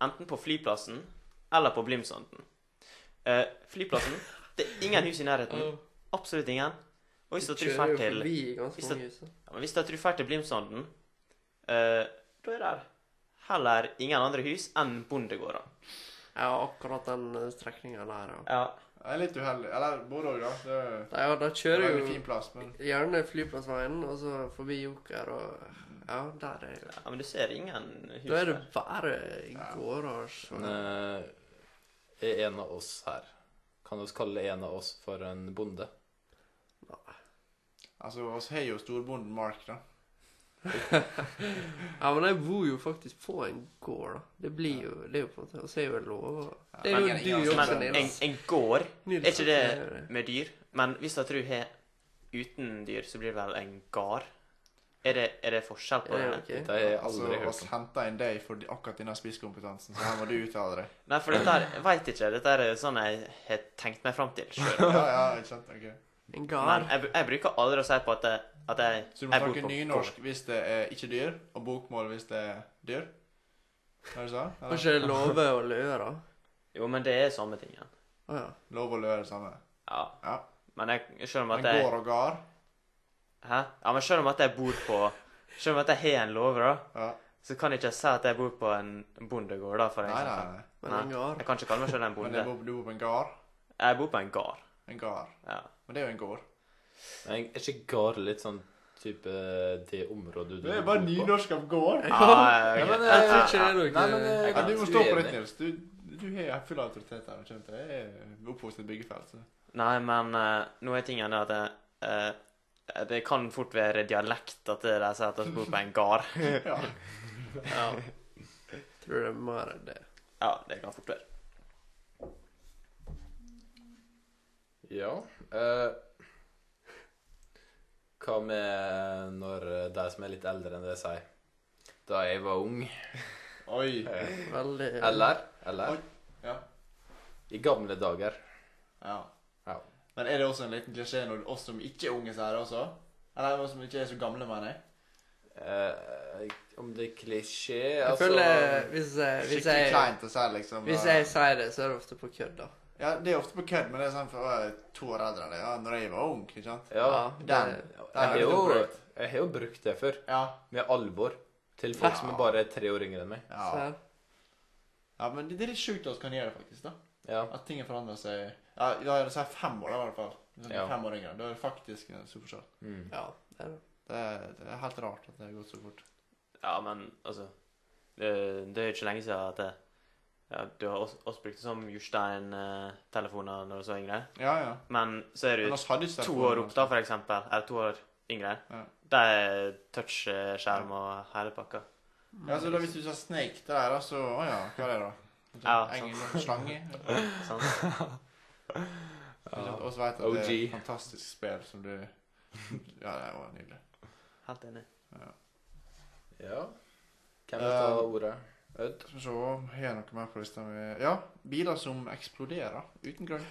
D: Enten på flyplassen eller på Blimsanden. Eh, flyplassen Det er ingen hus i nærheten. Absolutt ingen. Og hvis at du drar til
C: forbi ganske
D: hvis
C: mange hus. da.
D: Ja, men hvis at du drar til Blimsanden, eh, da er det heller ingen andre hus enn bondegårder.
C: Ja, akkurat den eh, strekninga der, ja.
D: Ja.
B: Jeg er litt uheldig. Eller både òg, da. Det er
C: Nei, Ja, da
B: det er en
C: kjører jo
B: veldig fin plass, men
C: Gjerne flyplassveien, og så forbi Joker og Ja, der er det.
D: ja, men du ser ingen hus
C: Da er det
D: der.
C: bare
B: Ja.
C: gårder.
A: Men eh, er en av oss her Kan vi kalle en av oss for en bonde?
B: altså, oss har jo storbonden Mark, da.
C: Ja, men jeg bor jo faktisk på en gård, da. Det blir jo Det er jo på en måte Og så er jo en lov og Det er jo
B: Men-
C: du også,
D: Altså, Men en,
C: Nils.
D: en gård
C: Nils
D: er ikke
C: gjør
D: det med dyr. Men hvis at du har uten dyr, så blir det vel en gard. Er det, er det forskjell på
C: Ja,
D: det?
C: ok.
A: Det har jeg
B: Altså,
A: aldri
B: oss
A: hørt om.
B: henta inn deg for akkurat denne spisskompetansen, så her må du uttale deg.
D: Nei, for dette her, jeg vet ikke. Dette her er sånn jeg har tenkt meg fram til sjøl.
B: Ja, ja, ikke sant? Ok.
C: En
D: Men
C: gard.
D: jeg, jeg bruker aldri å si på at jeg, at jeg,
B: Så du må
D: jeg bor
B: snakke
D: på
B: nynorsk hvis det er ikke dyr, og bokmål hvis det er dyr? Hva er det du sa du?
C: Kan ikke love å løe, da.
D: Jo, men det er samme ting. Ja.
C: Å ja.
B: Lov å lø er det samme.
D: Ja.
B: Ja.
D: Men jeg, selv om
B: Men
D: at jeg
B: går og gar.
D: Hæ? Ja, men selv om at jeg bor på Selv om at jeg har en låve, da,
B: Ja.
D: så kan jeg ikke si at jeg bor på en bondegård, da, for
B: Nei,
D: eksempel.
B: nei, nei.
C: Men en gard.
D: Jeg kan ikke kalle meg selv
B: Men
D: en bonde.
B: det bor, du bor på en gard.
D: Jeg bor på en gard.
B: En gard.
D: Ja.
B: Men det er jo en gård.
A: Men Er ikke gard litt sånn type eh, det området du bor på?
B: av gård.
D: Ja,
A: Ja,
D: ok.
A: men
C: Jeg tror
A: eh,
C: ikke det er noe
A: Nei, men eh,
B: Ja,
A: jeg
B: du
A: er
B: må
A: ganske
B: stå på
A: uenig.
B: litt, Nils. Du, du har full autoritet her. skjønte Jeg Jeg er oppvokst i et byggefelt. Så.
D: Nei, men eh, nå er tingen det at jeg, eh, det kan fort være dialekt at de sier at vi bor på en gard.
B: Ja.
C: Ja. Tror det er mer enn det.
D: Ja, det kan fort være.
A: Ja. Eh, hva med når eh, de som er litt eldre enn det, sier Da jeg var ung.
B: Oi.
A: Eh,
C: Veldig
A: Eller? Eller?
B: Oi. Ja.
A: I gamle dager.
B: ja.
A: Ja.
B: Men er det også en liten klisjé når oss som ikke er unge, sier det også? Eller oss som ikke er så gamle, mener jeg.
A: Eh, om det er klisjé
C: Jeg
A: altså,
C: føler Hvis jeg Hvis
B: Skikkelig
C: jeg,
B: kleint å si, liksom.
C: hvis jeg sier det, så er det ofte på kødd, da.
B: Ja, Det er ofte på kødd, men det er sånn for å være to år eldre enn deg. Ja, når jeg var ung, ikke sant?
A: Ja.
C: det-
B: Den.
A: Jeg
B: Det er
A: har
B: litt
A: jo,
B: oppbrukt.
A: jeg har jo brukt det før.
B: Ja.
A: Med alvor. Til folk som
B: Ja.
A: er bare tre år yngre enn meg.
B: Ja.
C: Så her.
B: ja, men det det er litt sjukt at vi kan gjøre det, faktisk. da.
A: Ja.
B: At ting forandrer seg. Ja, da er det sånn fem år, da, i hvert fall. Hvis man er
A: Ja.
B: Fem år yngre. Da er det faktisk en superstjerne.
A: Mm.
C: Ja, det er det.
B: Det, er- det er helt rart at det har gått så fort.
D: Ja, men altså Det, det er jo ikke lenge siden at jeg, ja, du har oss, oss brukt det som Jostein-telefoner når du var yngre.
B: Ja, ja.
D: Men så er du
B: Men oss hadde ikke
D: to
B: telefoner.
D: år opp, da, for eksempel. Eller to år yngre.
B: Ja.
D: Det er touchskjerm og hele pakka.
B: Ja, så da Hvis du sa Snake til deg, da, så Å ja, hva er det, da?
D: Ja, sånn.
B: Eng- slange?
D: Sant?
A: Ja.
B: Og så vet jeg at det er
A: OG.
B: et fantastisk spill som du Ja, det var nydelig.
D: Helt enig.
A: ja. Hvem vil ta
B: Eh,
A: ordet? Ødd?
B: Skal vi se, har jeg noe mer på lista mi? Ja, biler som eksploderer uten grunn.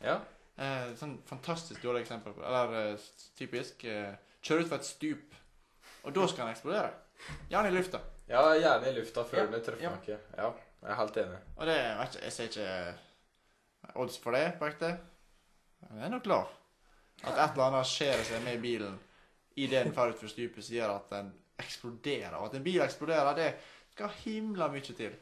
A: Ja.
B: Eh, sånn fantastisk dårlig eksempel på Eller eh, s- typisk eh, Kjør utfor et stup, og da skal den eksplodere. Gjerne i lufta.
A: Ja, gjerne i lufta før
B: Ja,
A: den treffer
B: ja.
A: noe. Ja, jeg er helt enig.
B: Og det jeg vet ikke, Jeg ser ikke odds for det på ekte. Men det er nok lav. At et eller annet skjer seg med bilen idet den faller utfor stupet, som gjør at den eksploderer. Og at en bil eksploderer, det skal himla mye til.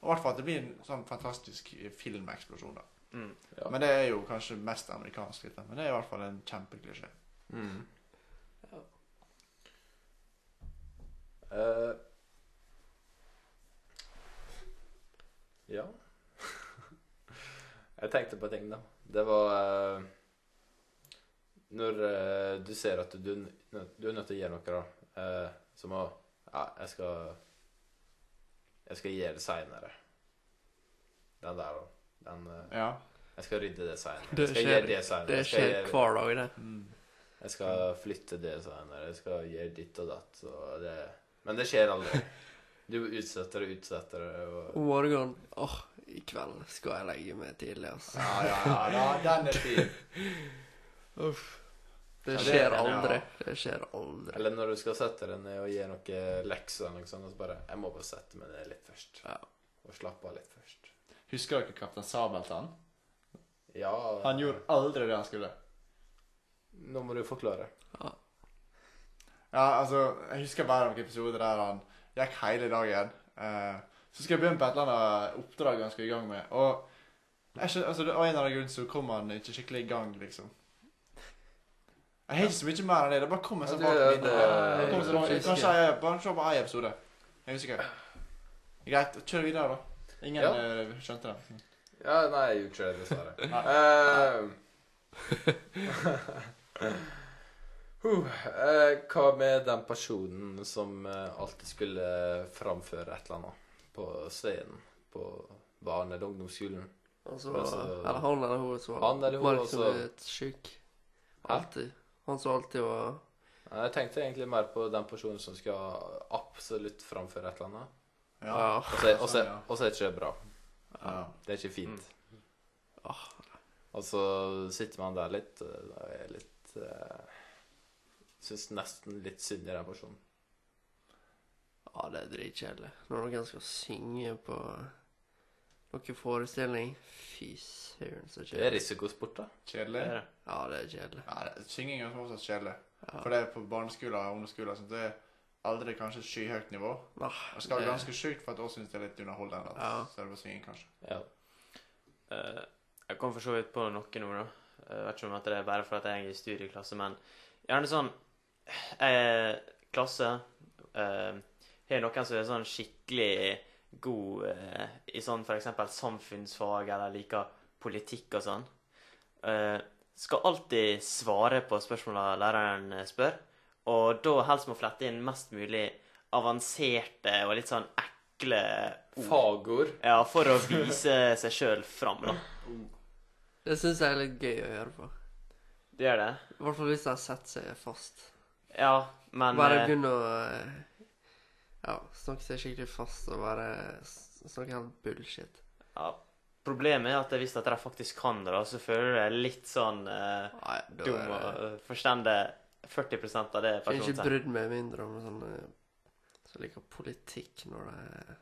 B: Og i hvert fall at det blir en sånn fantastisk filmeksplosjon. da.
D: Mm.
A: Ja.
B: Men det er jo kanskje mest amerikansk, litt, da. men det er i hvert fall en kjempeklisjé.
A: Mm.
C: Ja.
A: Eh, ja. Jeg tenkte på en ting, da. Det var eh, Når eh, du ser at du, du er nødt til å gjøre noe, da, eh, så må Ja, jeg skal Jeg skal gjøre det seinere. Den der, da. Den eh,
B: Ja.
A: Jeg skal rydde det seinere.
C: Det
A: Jeg skal
C: skjer-
A: gjøre det seinere.
C: Det
A: Jeg, skal
C: skjer
A: gjøre-
C: hver dag, det.
B: Mm.
A: jeg skal flytte det seinere. Jeg skal gjøre ditt og datt. Så det, men det skjer aldri. Du utsetter og utsetter. Og,
C: Om morgenen Åh, i kveld skal jeg legge meg tidlig, altså.
B: Ja, ja, ja, ja, den er fin.
C: Uff. Det
A: Ja, det-
C: skjer
A: ja.
C: aldri. Det skjer aldri.
A: Eller når du skal sette deg ned og gjøre noen lekser, eller noe sånt, og så bare Jeg må bare sette meg ned litt først.
C: Ja.
A: Og slappe av litt først.
B: Husker dere Kaptein Sabeltann?
A: Ja
B: Han gjorde aldri det han skulle.
A: Nå må du forklare.
B: Ja, altså, Jeg husker bare noen episoder der han gikk hele dagen. Eh, så skal jeg begynne på et eller annet oppdrag han skal i gang med. Og jeg skjønner, altså, det- av en eller annen grunn så kom han ikke skikkelig i gang, liksom. Jeg har ikke så mye mer enn det. Det bare kommer sånn
A: Ja,
B: bak
A: det- eh,
B: minnet.
A: det-
B: Det kommer sånn bak-
C: det-
B: Kanskje jeg bare se på én episode. Jeg er usikker. Greit, kjør videre, da. Ingen
A: Ja.
B: eh, skjønte det.
A: Ja, nei, jeg gjorde ikke det, dessverre.
B: Nei.
A: Eh, huh, eh, hva med den personen som eh, alltid skulle framføre et eller annet på scenen på barne- eller ungdomsskolen?
C: Altså,
A: Altså,
C: eller han eller hun som var
A: han eller hun, altså.
C: oppmerksomhetssyk. Alltid. Han som alltid var
A: Nei, Eh, Jeg tenkte egentlig mer på den personen som skal absolutt framføre et eller annet.
B: Ja.
C: Ja.
A: Og så- Og så
B: Sånn, ja.
A: og så er det ikke bra.
B: ja.
A: Det er ikke fint.
C: Ah.
A: Og så sitter man der litt og da er jeg litt uh, Syns nesten litt synd i den personen.
C: Ja, det er dritkjedelig. Når noen skal synge på noen forestilling Fy søren, så
A: Det er
C: kjedelig.
A: risikosport, da.
D: Det
B: Kjedelig?
D: er det.
C: Ja, det er kjedelig.
B: Ja, det- synging er fortsatt kjedelig.
C: Ja.
B: For det er på barneskoler og ungdomsskoler. Så det er aldri kanskje et skyhøyt nivå.
C: Nei,
B: Det skal
C: det-
B: være ganske sjukt for at oss syns det er litt underholdende at
C: Ja.
B: selve synging, kanskje.
A: Ja.
D: Eh, jeg kom for så vidt på noe nå, da. Eh, Jeg vet ikke om at det er bare for at jeg er i studieklasse, men gjerne sånn eh, Klasse eh, har noen som er sånn skikkelig god eh, i sånn f.eks. samfunnsfag, eller liker politikk og sånn. Eh, skal alltid svare på spørsmåla læreren eh, spør, og da helst må flette inn mest mulig avanserte og litt sånn ekle
A: Mm.
D: ord.
A: Fagord.
D: Ja, for å vise seg sjøl fram, da.
C: Det syns jeg er litt gøy å høre på.
D: Det gjør det.
C: I hvert fall hvis de setter seg fast.
D: Ja, men
C: Bare
D: eh,
C: begynne å eh, ja, snakke seg skikkelig fast og bare s- snakke helt bullshit.
D: ja, Problemet er at hvis at de faktisk kan det, da, så føler du deg litt sånn eh,
C: Nei, da
D: dum
C: er
D: og
C: det
D: eh, forstender 40 av det
C: Jeg har
D: personen
C: ikke
D: sier.
C: brydd meg mindre om sånne som liker politikk når det er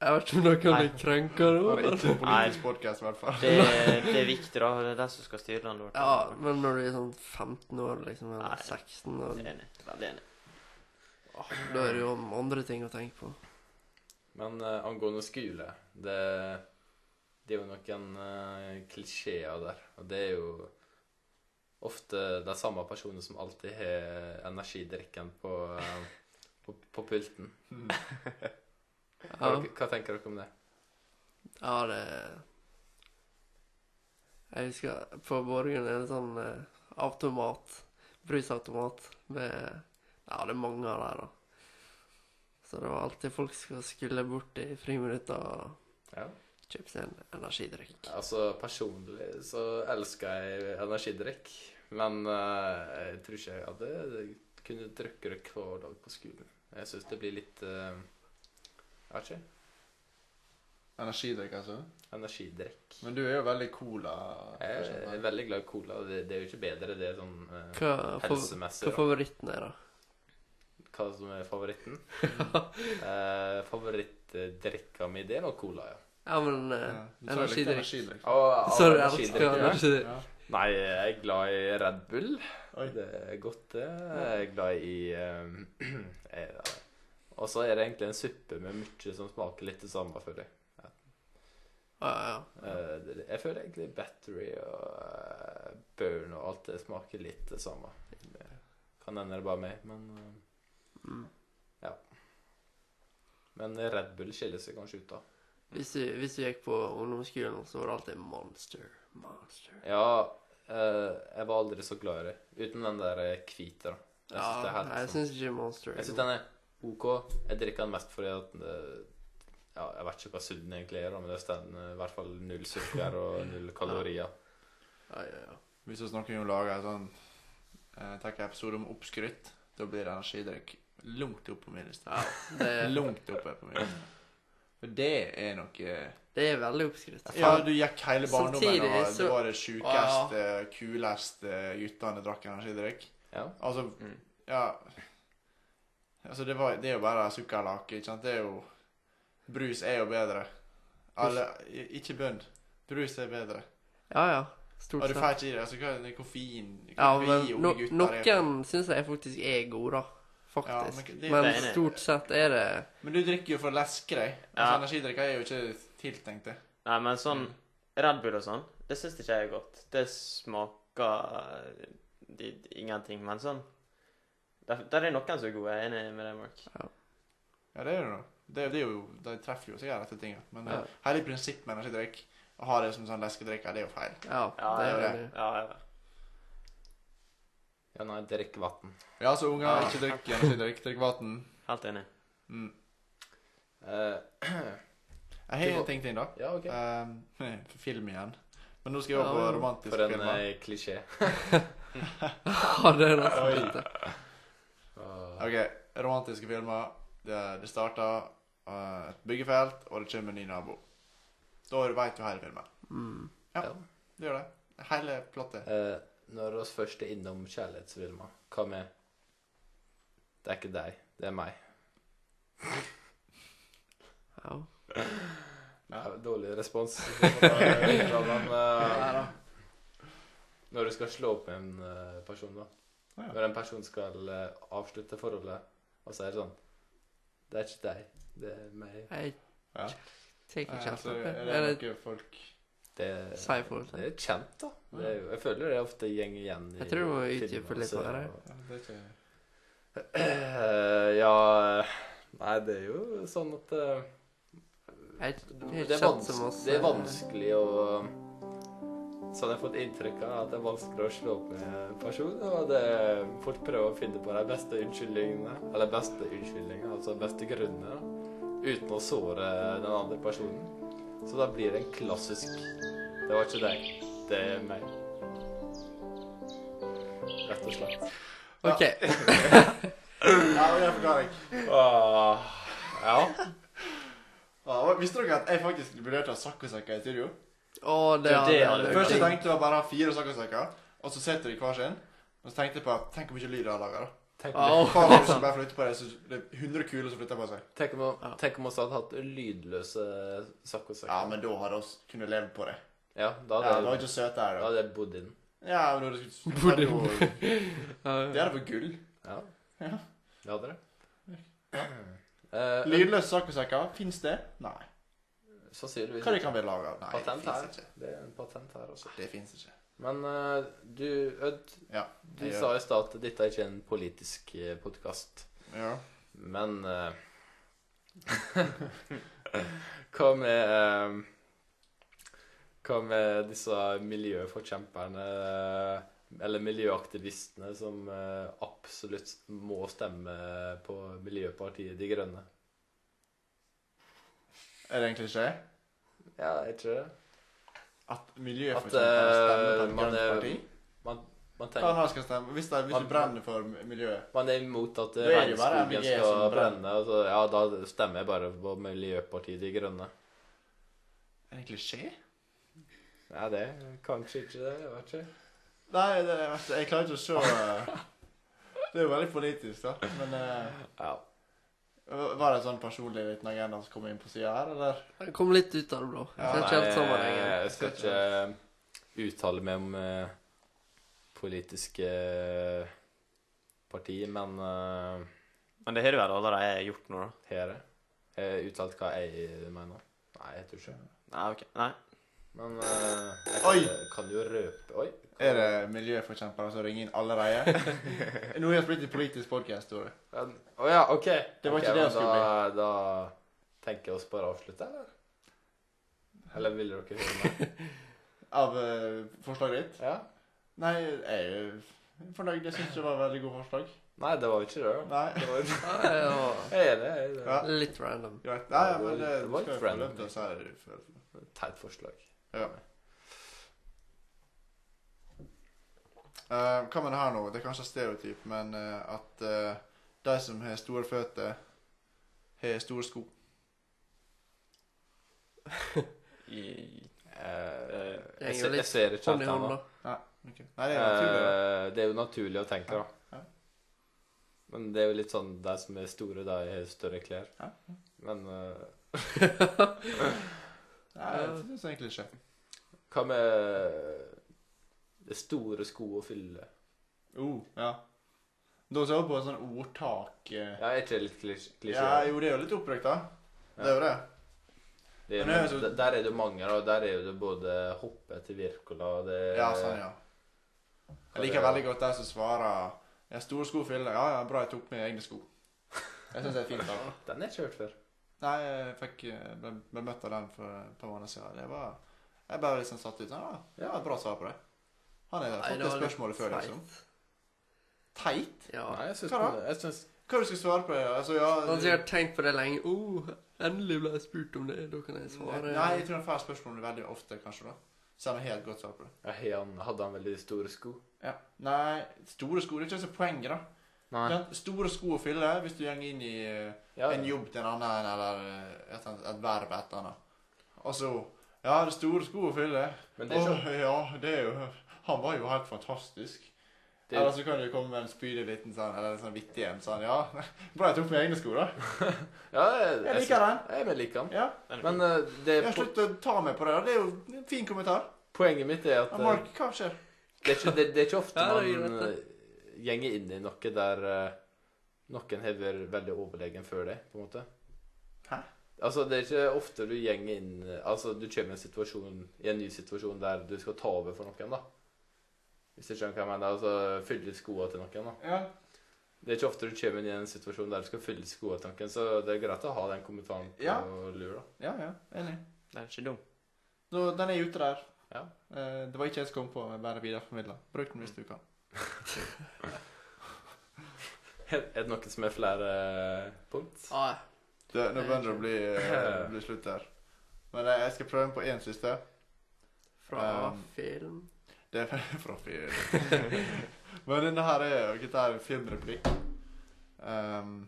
C: Jeg vet ikke om noen
D: Nei.
C: blir krenka nå.
B: Det er
C: men-
B: ikke en politisk podcast, i hvert fall.
D: Det, det er viktig, da. Det er de som skal styre landet vårt.
C: Ja, men når du er sånn 15 år, liksom,
D: Nei.
C: eller 16 år,
D: Enig. Veldig enig.
C: da er det jo andre ting å tenke på.
A: Men eh, angående skole det, det er jo noen eh, klisjeer der. Og det er jo ofte de samme personene som alltid har energidrikken på, eh, på, på pulten.
C: Ja,
A: Hva, hva tenker dere om det?
C: ja det Jeg husker på Borgen er det sånn eh, automat, brusautomat, med Ja, det er mange av dem, da. Så det var alltid folk som skulle bort i friminutta og
A: Ja.
C: kjøpe seg en energidrikk.
A: Altså, personlig så elsker jeg energidrikk, men eh, jeg tror ikke jeg hadde jeg kunne drikke det hver dag på skolen. Jeg syns det blir litt eh, Jeg vet ikke.
B: Energidrikk, altså.
A: Energidrikk.
B: Men du er jo veldig cola.
C: Eh,
A: Jeg er veldig glad i cola. og Det, det er jo ikke bedre det sånn eh,
C: Hva, for,
A: helsemessig.
C: hva favoritten er, da?
A: da. Hva som er favoritten? uh, Favorittdrikka mi, det er nok cola, ja.
C: Ja, men eh,
B: Ja, du tar litt
C: Energidrikk.
B: energidrikk.
A: Og- og
C: Sorry, jeg elsker
A: energidrikk, ja.
C: energidrikk.
B: Ja.
A: Nei, jeg er glad i Red Bull.
B: Oi.
A: Det er godt, det. Jeg er glad i eh, eh, Og så er det egentlig en suppe med mye som smaker litt det samme, føler jeg.
C: Ja, ja.
A: Eh, det- jeg føler egentlig battery og eh, burn og alt det smaker litt det samme. Det kan hende det er bare meg, men eh,
C: Mm.
A: Ja. Men Red Bull skiller seg kanskje ut, da.
C: Hvis du, hvis du gikk på ungdomsskolen, så var det alltid monster, monster.
A: Ja, eh, jeg var aldri så glad i det. Uten den der eh, hvite, da. Jeg
C: Ja,
A: synes det er helt
C: nei, jeg
A: sånn.
C: syns ikke monster
A: Jeg
C: er
A: syns
C: god.
A: den er OK. Jeg drikker den mest fordi at eh, Ja, jeg vet ikke hva sulten egentlig er, da, men det er den, eh, i hvert fall null sukker og null kalorier.
C: Ja, ja, ja.
B: Hvis vi snakker om å lage en sånn eh, tenker jeg episode om oppskrytt, da blir energidrikk langt oppe på min liste.
C: ja det,
B: Langt oppe på min liste. For det er noe
C: det er veldig oppskrytt.
B: Ja, du gikk hele barndommen,
C: Samtidig
B: og
C: så-
B: det var det sjukeste, kuleste guttene drakk energidrikk.
A: Ja.
B: Altså,
D: Mm.
B: ja Altså, det, var, det er jo bare sukkerlake, ikke sant? Det er jo Brus er jo bedre. Alle i- Ikke bønn. Brus er bedre.
C: Ja, ja.
B: Og
C: Stort
B: du
C: sett.
B: får ikke i deg altså, hva er det, koffein
C: Ja,
B: hva
C: men
B: vi unge
C: no,
B: gutter er på?
C: noen syns jeg faktisk er gode, da. Faktisk.
B: Ja, men det-
C: men
D: det er enig.
C: stort sett er det
B: Men du drikker jo for å leske deg. Altså,
D: Ja.
B: Energidrikker er jo ikke tiltenkt det.
D: Nei, men sånn Red Bull og sånn, det syns ikke jeg er godt. Det smaker eh, de, de, ingenting, men sånn der, der er noen som er gode. Jeg er enig med deg, Mark.
B: Ja, det er det da. Det, det er jo, De treffer jo sikkert dette tinget. Men eh,
C: Ja.
B: hele prinsippet med energidrikk, å ha det som sånn leskedrikk, ja, det er jo feil.
C: Ja,
D: Ja,
C: det
D: jeg
C: er
B: det.
C: veldig
D: Ja, ja.
A: ja, nei, drikk vann.
B: Ja, så altså unger,
D: Ja.
B: ikke drikk energidrikk. Drikk vann.
D: Helt enig.
B: Mm.
A: Eh,
B: Jeg har en ting til, da.
A: ja, OK.
B: Um, for film igjen. Men nå skal jeg
C: Ja,
B: over på
C: ja.
B: romantiske
A: For en
B: filmer.
A: eh, klisjé.
C: Ja, det er nesten
B: Oi.
C: litt det.
A: Åh.
B: Ok, romantiske filmer. Det, det starter uh, et byggefelt, og det kommer en ny nabo. Da veit du hele filmen.
C: Mm.
B: Ja,
A: Ja.
B: det gjør det. Hele plottet.
A: Eh, når oss først er innom kjærlighetsfilmer, hva med Det er ikke deg, det er meg.
C: Ja.
B: Ja.
A: Ja, Dårlig respons. Men,
C: Nei
A: eh,
C: da.
A: når du skal slå opp med en eh, person, da.
B: Ja.
A: Når en person skal eh, avslutte forholdet, og så er det sånn Det er ikke deg, det er meg.
C: Jeg
B: Ja.
C: tar ikke
B: Eh, så
C: kjeft.
B: er det
C: Er det
B: noe folk
A: Det,
C: Si forhold til.
A: det er kjent, da. Det er, jo- jeg føler det ofte går igjen i
C: sånn? Jeg tror du må utdype
A: filmer,
C: litt
A: så-
C: på
B: Ja,
C: det
B: det er ikke...
A: Eh, ja Nei, det er jo sånn at eh,
C: Jeg
A: Det
C: det
A: er,
C: kjent
A: vans
C: som oss.
A: det er
C: eh,
A: vanskelig å Sånn jeg har fått inntrykk av at det er vanskelig å slå opp med en person. Og det er folk prøver å finne på de beste unnskyldningene, eller beste unnskyldningene, altså beste grunnene, da, uten å såre den andre personen. Så da blir det en klassisk Det var ikke deg, det er meg. Rett og slett.
C: OK.
B: Ja, men jeg forklarer ikke.
A: Åh, Ah, ja.
B: Ja, og visste dere at jeg faktisk vurderte å ha saccosekker i studio?
C: Å, det
D: Det er det
C: hadde
D: jeg
B: Først jeg
C: vært
B: tenkte jeg bare å ha fire saccosekker, og så setter de hver sin. Og så tenkte jeg på at tenk hvor mye lyd jeg har laga, da.
A: Tenk om-
C: Au.
B: Hver gang som bare flytter på det, så det er 100 kuler som flytter på seg.
A: Tenk om
C: Ja.
A: tenk om vi hadde hatt lydløse saccosekker.
B: Ja, men da hadde vi kunnet leve på det.
A: Ja, da
B: Ja,
A: hadde
B: det var
A: jeg-
B: ikke søte her,
A: da
B: da.
A: hadde jeg bodd inn.
B: Ja, men da skulle
C: Burde-
B: Det
C: Ja, ja.
B: er det for gull.
A: Ja.
B: Ja.
A: Det hadde det.
B: Ja.
A: Eh,
B: Lydløse saccosekker, fins det? Nei.
A: sannsynligvis
B: Hva de
A: ikke.
B: kan vi lage av? Nei, det
A: Patent
B: fins
A: her.
B: ikke. Altså,
A: Det er en patent her også.
B: Det fins ikke.
A: Men eh, du, Ødd,
B: Ja,
A: du
B: jeg gjør
A: sa i stad at dette er ikke en politisk eh, podkast.
B: Ja.
A: Men eh, Hva med eh, Hva med disse miljøforkjemperne eh, eller miljøaktivistene som eh, absolutt må stemme på Miljøpartiet De Grønne?
B: Er det en klisjé?
A: Ja, er ikke det?
B: At miljøet
A: At,
B: for eksempel stemmer på
A: eh,
B: et
A: man
B: grønt
A: er-
B: parti?
A: Man, man,
B: Ja,
A: tenker,
B: nå skal jeg stemme. Hvis, det, hvis
A: Man-
B: du brenner for miljøet
A: man er imot at eh,
B: Da er det jo bare
A: regnskogen
B: MDG
A: skal
B: som brenner.
A: brenne. Og så, ja, da stemmer jeg bare på Miljøpartiet De Grønne.
B: Er det en klisjé?
A: Ja, det er kanskje ikke det. Jeg vet ikke.
B: Nei, det, er- altså, jeg klarer ikke å se eh, Det er jo veldig politisk, da. Men eh,
A: Ja.
B: var det en sånn personlig liten agenda som kom inn på sida her, eller?
C: Det kom litt ut av det blå. Jeg
B: Ja,
C: ser
A: Nei,
C: ikke helt sammenhengen.
A: Jeg skal ikke eh, uttale meg om eh, politiske eh, parti, men eh,
D: Men det har du vel allerede gjort nå, da?
A: her er Jeg har uttalt hva jeg mener. Nei, jeg tror ikke
D: Nei, ok. Nei.
A: Men eh, jeg
B: Oi!
A: kan, kan jo røpe Oi.
B: Er det miljøforkjempere som ringer inn allerede? Nå har vi blitt en politisk podkast, Tore.
A: Å ja, OK.
B: Det var
A: Ok,
B: ikke det
A: men
B: jeg skulle
A: da, da tenker jeg oss bare å avslutte, eller? Eller vil dere høre mer?
B: Av eh, forslaget ditt?
A: Ja.
B: Nei, jeg er jo fornøyd. Jeg syns det var veldig gode forslag.
A: Nei, det var jo ikke det. da.
B: Nei.
A: Det var jo...
C: Ja, ja.
A: Jeg er enig. Jeg er enig.
B: Ja.
C: Litt random.
B: Greit. Nei, men det,
A: Det var
B: skal
A: litt
B: jeg
A: random.
B: forvente, så er det for-
A: Teit forslag.
B: Ja. Eh, hva med det her nå? Det er kanskje stereotyp, men eh, at eh, de som har store føtter, har store sko.
D: I,
A: Eh,
C: Det
A: jeg,
C: henger
A: ser,
C: litt
A: jeg ser ikke
C: Hånd
A: helt
C: i hånd,
A: ennå.
C: Sånn da.
B: Nei, det er naturlig.
A: Eh, det er jo naturlig å tenke, da.
B: Ja.
A: Men det er jo litt sånn de som er store, de har større klær.
B: Ja.
A: Men eh,
B: Nei, det sånn- synes jeg egentlig ikke.
A: hva med det store sko å fylle?
B: Oh, ja. Da ser vi på et sånt ordtak eh.
A: Ja, er ikke det litt klisj- klisjé?
B: Ja, jo, det er jo litt oppbrukt, da. Det er jo det.
A: Det er,
B: Men det er jo
A: d- der er det jo mange, da. Der er jo det både hoppe til Wirkola og det
B: Ja, sånn, ja. Jeg liker veldig godt de som svarer ja, 'Store sko fyller'. Ja, ja, bra jeg tok med egne sko. Jeg syns det er fint. da.
A: Den er ikke hørt før.
B: Nei, jeg fikk, eh, ble, ble møtt av den for et par måneder siden. Det var, jeg ble liksom satt ut. sånn, Ja, det var et bra svar på det. Han har
C: Nei,
B: fått
C: det
B: det
C: var litt
B: spørsmålet før,
C: teit.
B: liksom. Teit?
C: Ja.
A: Nei, jeg syns
B: Hva da?
A: jeg syns-
B: Hva du skal svare på det? Altså, ja
C: Han har sikkert tenkt på det lenge. Oh, endelig ble jeg spurt om det. Da kan jeg
A: eh.
C: svare.
B: Nei, jeg tror han får spørsmålet veldig ofte, kanskje, da. Så han har helt godt svar på det.
A: ja, har han, Hadde han veldig store sko?
B: Ja. Nei, store sko det er ikke så poenget, da.
A: Nei.
B: Sant? Store sko å fylle hvis du går inn i eh,
A: Ja,
B: en jobb til en annen, eller eh, et, annet- et verv et eller annet. Og så Ja, det er store sko å fylle.
A: men det er
B: Åh,
A: ikke
B: ja, det er jo Han var jo helt fantastisk.
A: det,
B: Eller så kan du komme med en spydig liten sånn, eller en sånn vittig en sånn Ja, bra jeg tok med egne sko, da.
A: Ja, jeg,
B: Jeg liker den.
A: Jeg, jeg liker den.
B: Ja.
D: den er
A: Men
D: god.
A: eh, det,
B: Jeg har
A: po
B: sluttet å ta meg på det. da. Det er jo en fin kommentar.
A: poenget mitt er at
B: Ja,
A: eh,
B: Mark, hva skjer?
A: det, er ikke, det, det er ikke ofte
C: Ja, det er
A: man
C: greit,
A: eh, gjenger inn i noe der eh, noen har vært veldig overlegen før deg, på en måte.
B: Hæ?
A: Altså, det er ikke ofte du gjenger inn Altså, du kommer i en situasjon I en ny situasjon der du skal ta over for noen, da. Hvis du skjønner hva jeg mener. Altså fylle skoa til noen, da.
B: Ja.
A: Det er ikke ofte du kommer inn i en situasjon der du skal fylle skoa til noen, så det er greit å ha den kommentaren på
B: Ja.
A: lur, da.
B: Ja, ja. Enig.
D: Den er ikke dum.
B: Nå, den er ute der.
A: Ja.
B: Eh, det var ikke jeg som kom på, men bare videreformidla. Bruk den hvis du kan.
A: Er er det noen som har flere eh, punkt?
C: Nei.
B: Det, nå begynner det å bli, eh, bli slutt her. Men eh, jeg skal prøve den på én siste.
C: Fra
B: Um,
C: film.
B: Det er fra fyr. Men denne her er jo dette er en filmreplikk. Ehm,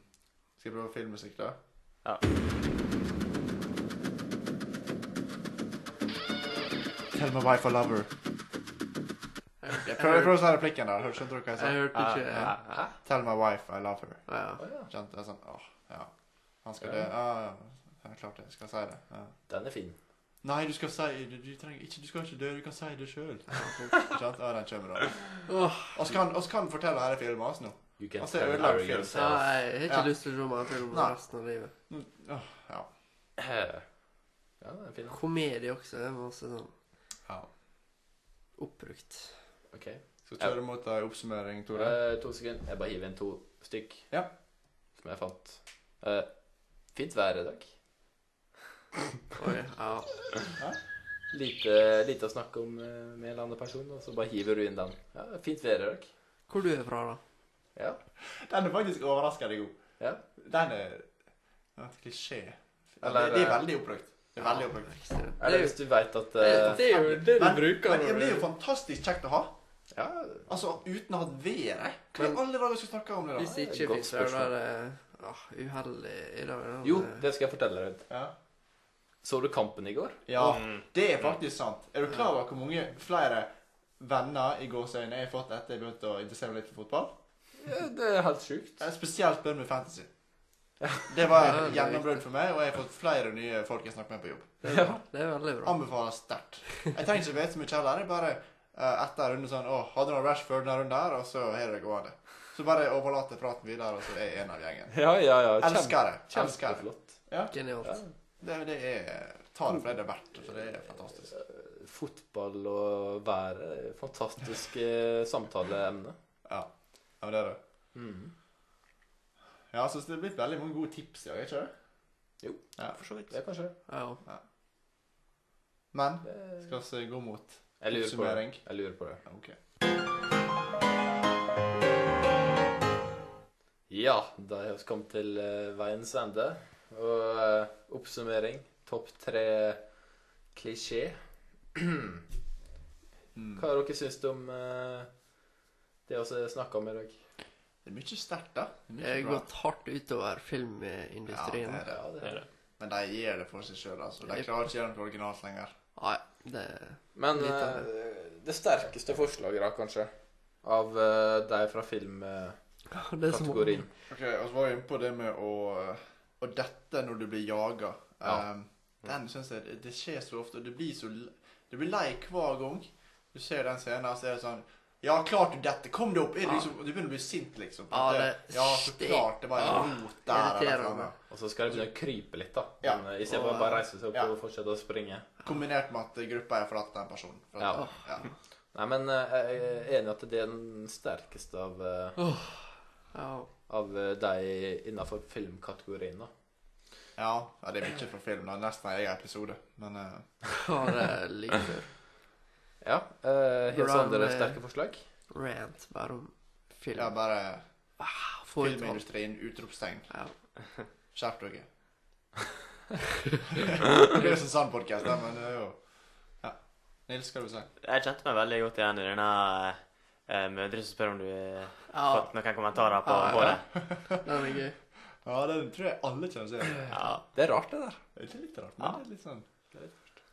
B: skal jeg prøve filmmusikk, da?
D: Ja.
B: Tell my wife I love her.
C: Jeg, jeg,
B: Prøv,
C: hørte-
B: prøv å si replikken der. Hør- Skjønte du hva jeg
C: jeg
B: sa?
C: hørte ikke
B: Ja,
C: ja.
A: Hæ?
B: Tell my wife I love her.
C: Ja.
A: Å ja.
B: Skjønte jeg sånn, åh, ja. Han skal
A: Ja.
B: det. Ja, ja. ja. Klart det. Jeg skal si det. Ja.
A: Den er fin.
B: Nei, du skal si det. Du, trenger, ikke, du skal ikke dø, du kan si det sjøl. Sant? Ja, den kommer, da.
C: Åh,
B: Oss kan, oss kan fortelle hele filmen oss nå.
A: You can
B: Altså,
A: tell
B: jeg ødelegger
A: Harry
B: film.
C: ja,
A: yourself.
C: jeg har ikke
B: Ja.
C: lyst til å se mer film
B: Nei.
C: resten av livet.
B: Åh, ja.
A: Ja, den er fin. da.
C: Komedie også. Det er masse sånn
B: ja.
C: oppbrukt.
A: OK.
B: Skal vi kjøre mot en oppsummering, Tore?
A: Eh, to sekunder. Jeg bare hiver inn to stykk
B: Ja.
A: som jeg fant. Eh, fint vær i dag.
C: Oi, ja.
A: Lite, lite å snakke om eh, med en eller annen person, og så bare hiver du inn den. Ja, fint vær i dag.
C: Hvor du er fra, da?
A: Ja.
B: Den er faktisk overraskende god.
A: ja.
B: Den er den er et klisjé.
A: Eller-
B: det, det er veldig oppbrukt. Det er veldig
C: Ja,
B: oppbrukt.
C: ekstremt. Det
A: Eller
C: er
A: hvis du veit at
C: jo-
A: eh,
C: det er jo det du
B: Men-
C: bruker
B: Men det blir jo
C: når du
B: fantastisk kjekt å ha.
A: Ja,
B: Altså, uten å ha været. Hva
A: Men-
B: i alle dager skal vi snakke om det,
C: Hvis
B: da?
C: det ikke
A: Godt
C: fins der, da
A: spørsmål.
C: er det åh, uheldig i dag. da.
A: Jo, det skal jeg fortelle deg.
B: Ja.
A: Så du kampen i går?
B: ja.
D: Mm.
B: Det er faktisk sant. Er du klar over hvor mange flere venner i gåseøynene jeg har fått etter jeg begynte å interessere meg litt for fotball?
A: Ja, det er helt sjukt.
B: Jeg er spesielt bønn med fantasy. Det var
C: Ja,
B: et
C: det er
B: gjennombrudd for meg, og jeg har fått flere nye folk jeg snakker med på jobb.
C: det, er bra. det er veldig bra.
B: Anbefaler sterkt. Jeg trenger ikke vite så mye heller. Jeg bare eh, etter runde sånn Å, hadde noen rash før denne runden her, og så har det gående. Så bare overlater praten videre, og så er jeg en av gjengen.
A: Ja, ja, ja. Kjempe,
B: Elsker det. Elsker det.
A: kjempeflott. Ja.
C: Genialt.
B: Det, det er Ta det for det det er verdt, for det er fantastisk.
A: Fotball og været. Fantastiske eh, samtaleemne. Mm.
B: Ja. ja men det er det. Ja, jeg synes det er blitt veldig mange gode tips i dag, ikke det?
D: For så vidt.
A: Det er kanskje det.
C: Ja.
B: Men
A: Det-
B: skal vi gå mot
A: Eh, Jeg lurer på det.
B: oppsummering?
A: Jeg lurer på det.
B: Ok.
A: Ja, da har vi kommet til eh, veiens ende. Og eh, oppsummering. Topp tre klisjé.
B: Mm.
A: Hva har dere syns om eh, det vi snakka om i dag?
B: Det er mye sterkt, da. Det er mye
C: Det har
B: bra.
C: gått hardt utover filmindustrien.
B: Ja, det er
A: Ja, det
D: Det er
A: er.
D: det.
B: Men de gjør det for seg sjøl, altså. De
C: Jepp.
B: klarer ikke å gjøre noe originalt lenger.
C: Nei, det
A: Men
C: Litt av
A: eh, det sterkeste forslaget, da, kanskje, av eh, de fra eh, filmkategorien
C: det er som
B: Ok, og så var jeg inne på det med å Og dette når du blir jaga.
A: Ja.
B: Ehm, den synes jeg det- Det skjer så ofte. og Du blir så l- Du blir lei hver gang du ser den scenen, og så er det sånn Ja, klart du dette! Kom deg opp! Er du,
C: Ja.
B: liksom, du begynner å bli sint, liksom.
C: Ja,
B: At
C: det-
B: ja så klart. Det var
C: Ah,
B: en rot der. eller sånn. et eller
C: irriterende.
B: annet.
A: Og så skal de begynne å krype litt, da.
B: Ja.
A: Men, eh, I stedet for
C: Og,
A: å bare reise seg opp
B: ja.
A: og fortsette å springe.
B: Kombinert med at gruppa har forlatt den personen. For at-
A: Ja.
B: ja.
A: Nei, men eh, jeg er enig i at det er den sterkeste av, eh,
C: Ja.
A: av eh, de innafor filmkategorien, da.
B: Ja, ja, det er mye for film. da. Nesten en egen episode. Men eh,
C: ja, det er like før.
A: Ja. Uh, Helt
C: Hvordan,
A: andre
C: eh,
A: sterke forslag.
C: Rant bare om film.
B: ja, bare
C: Få ut alt.
B: filmindustrien, utropstegn.
C: Ja.
B: Skjerp dere. det er jo sånn sann podkast, men det er jo Ja. Nils, hva du si?
D: Jeg kjente meg veldig godt igjen i denne eh, mødre som spør om du har
C: Ja,
D: fått noen kommentarer på
C: Ja, ja.
D: håret.
C: den er gøy.
B: Ja, den tror jeg alle kjenner seg igjen i.
D: Ja.
A: Det er rart, det der.
B: Det er ikke litt rart, men det er litt sånn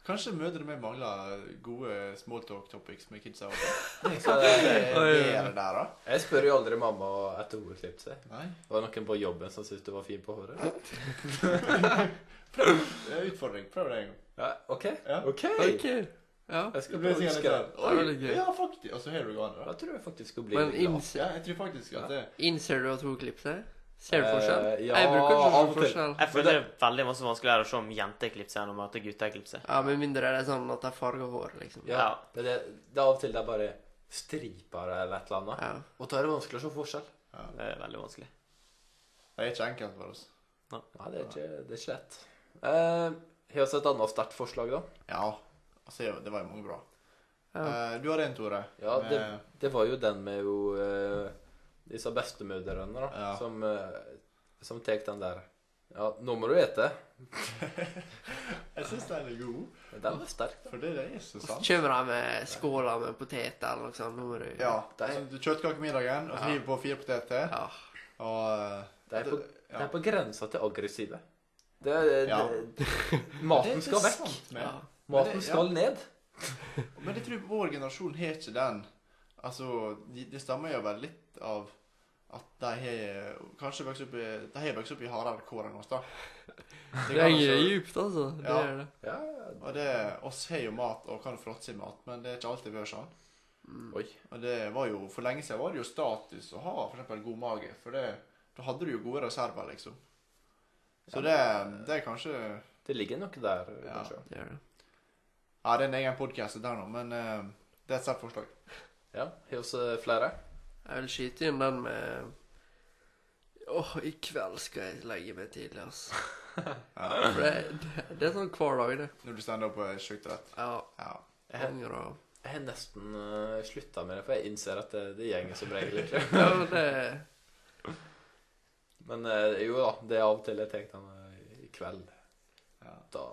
B: Kanskje mødre meg mangler gode smalltalk topics med kidsa også.
A: Så, eh,
B: Hva er det der, da?
A: jeg spør jo aldri mamma etter hun har klippet seg.
B: Nei.
A: Det var noen på jobben som syntes du var fin på håret.
B: Det er en utfordring. Prøv det en gang.
A: Ja, OK.
B: Ja.
A: OK.
C: Ok. Ja.
A: Jeg
B: Det
A: skal
B: blir
A: prøve å
B: sikkert
A: huske det.
B: litt
C: Det er
B: sånn
C: veldig
B: Oi!
C: gøy.
B: Ja, faktisk. Og så har du gående, da.
A: Da tror jeg faktisk hun blir
C: Men
A: litt glad.
C: innser,
B: Ja, jeg tror faktisk at det
C: innser du at hun klipper seg? Ser du forskjell?
A: Eh, ja,
C: jeg bruker ikke å
A: av
C: se
A: og til.
C: forskjell.
D: Jeg føler det er veldig masse vanskeligere å se om jenter klipper seg enn om at gutter klipper seg.
C: Ja, Med mindre det er sånn at de farger hår, liksom.
A: Ja.
D: Ja.
A: Det, er det, det er av og til det er bare striper eller et eller annet.
C: Ja.
A: Og da er det vanskelig å se forskjell.
D: Det er veldig vanskelig.
B: Det er ikke enkelt for oss.
A: Nei, det er ikke, det er ikke lett. Eh, har vi et annet sterkt forslag, da?
B: Ja. Altså, det var jo mange bra.
C: Ja.
B: Eh, Du har en, Tore. Eh,
A: Ja,
B: med-
A: det- Det var jo den med jo eh, disse bestemødrene, da,
B: Ja.
A: som, eh, som tek den der Ja, nå må du ete.
B: Jeg syns den er god.
A: Den var sterk, da.
B: For det er så
C: Så
B: sant.
C: kommer de med skåler med poteter eller noe sånt. Nå må du
B: Ja.
A: Det er-
B: altså, Du kjøttkakemiddagen, og så
C: Ja.
B: hiver du på fire poteter.
C: Ja.
B: Og eh,
A: Det er på, det
B: ja.
A: er på grensa til aggressive. Det, det,
B: Ja.
A: det, maten
B: Det er
A: skal vekk.
B: sant, men-
C: ja.
B: Men
A: Maten
B: det- ja.
A: skal ned.
B: Men jeg tror vår generasjon har ikke den Altså, de- det stammer jo vel litt av at de har Kanskje vokst opp i De har vokst opp i hardere kår enn oss, da. Det
C: Det
B: kan
C: henger
B: altså-
C: djupt, altså. Det
B: Ja.
C: gjør det.
A: Ja.
B: Og det Oss har jo mat og kan fråtse i mat, men det er ikke alltid vært sånn.
A: Oi.
B: Og det var jo For lenge siden var det jo status å ha for eksempel god mage, for det da hadde du jo gode reserver, liksom. Så det, det er kanskje
A: Det ligger noe der,
B: Ja.
A: kanskje.
C: det, gjør det.
B: Ja, det er en egen podkast der nå, men eh, det er et sterkt forslag.
A: Ja. Har vi flere?
C: Jeg vil skyte inn den med Åh, i kveld skal jeg legge meg tidlig, altså.
B: Ja.
C: For det, det, det er sånn hver dag, det.
B: Når du står opp og er sjukt rett.
C: Ja.
B: Ja.
A: Jeg-
C: Angrer og
A: Jeg har nesten uh, slutta med det, for jeg innser at det, det gjenger som regel ikke.
C: Ja, men det
A: Men eh, jo da, det er av og til jeg tenker den eh, i kveld.
B: Ja.
A: Da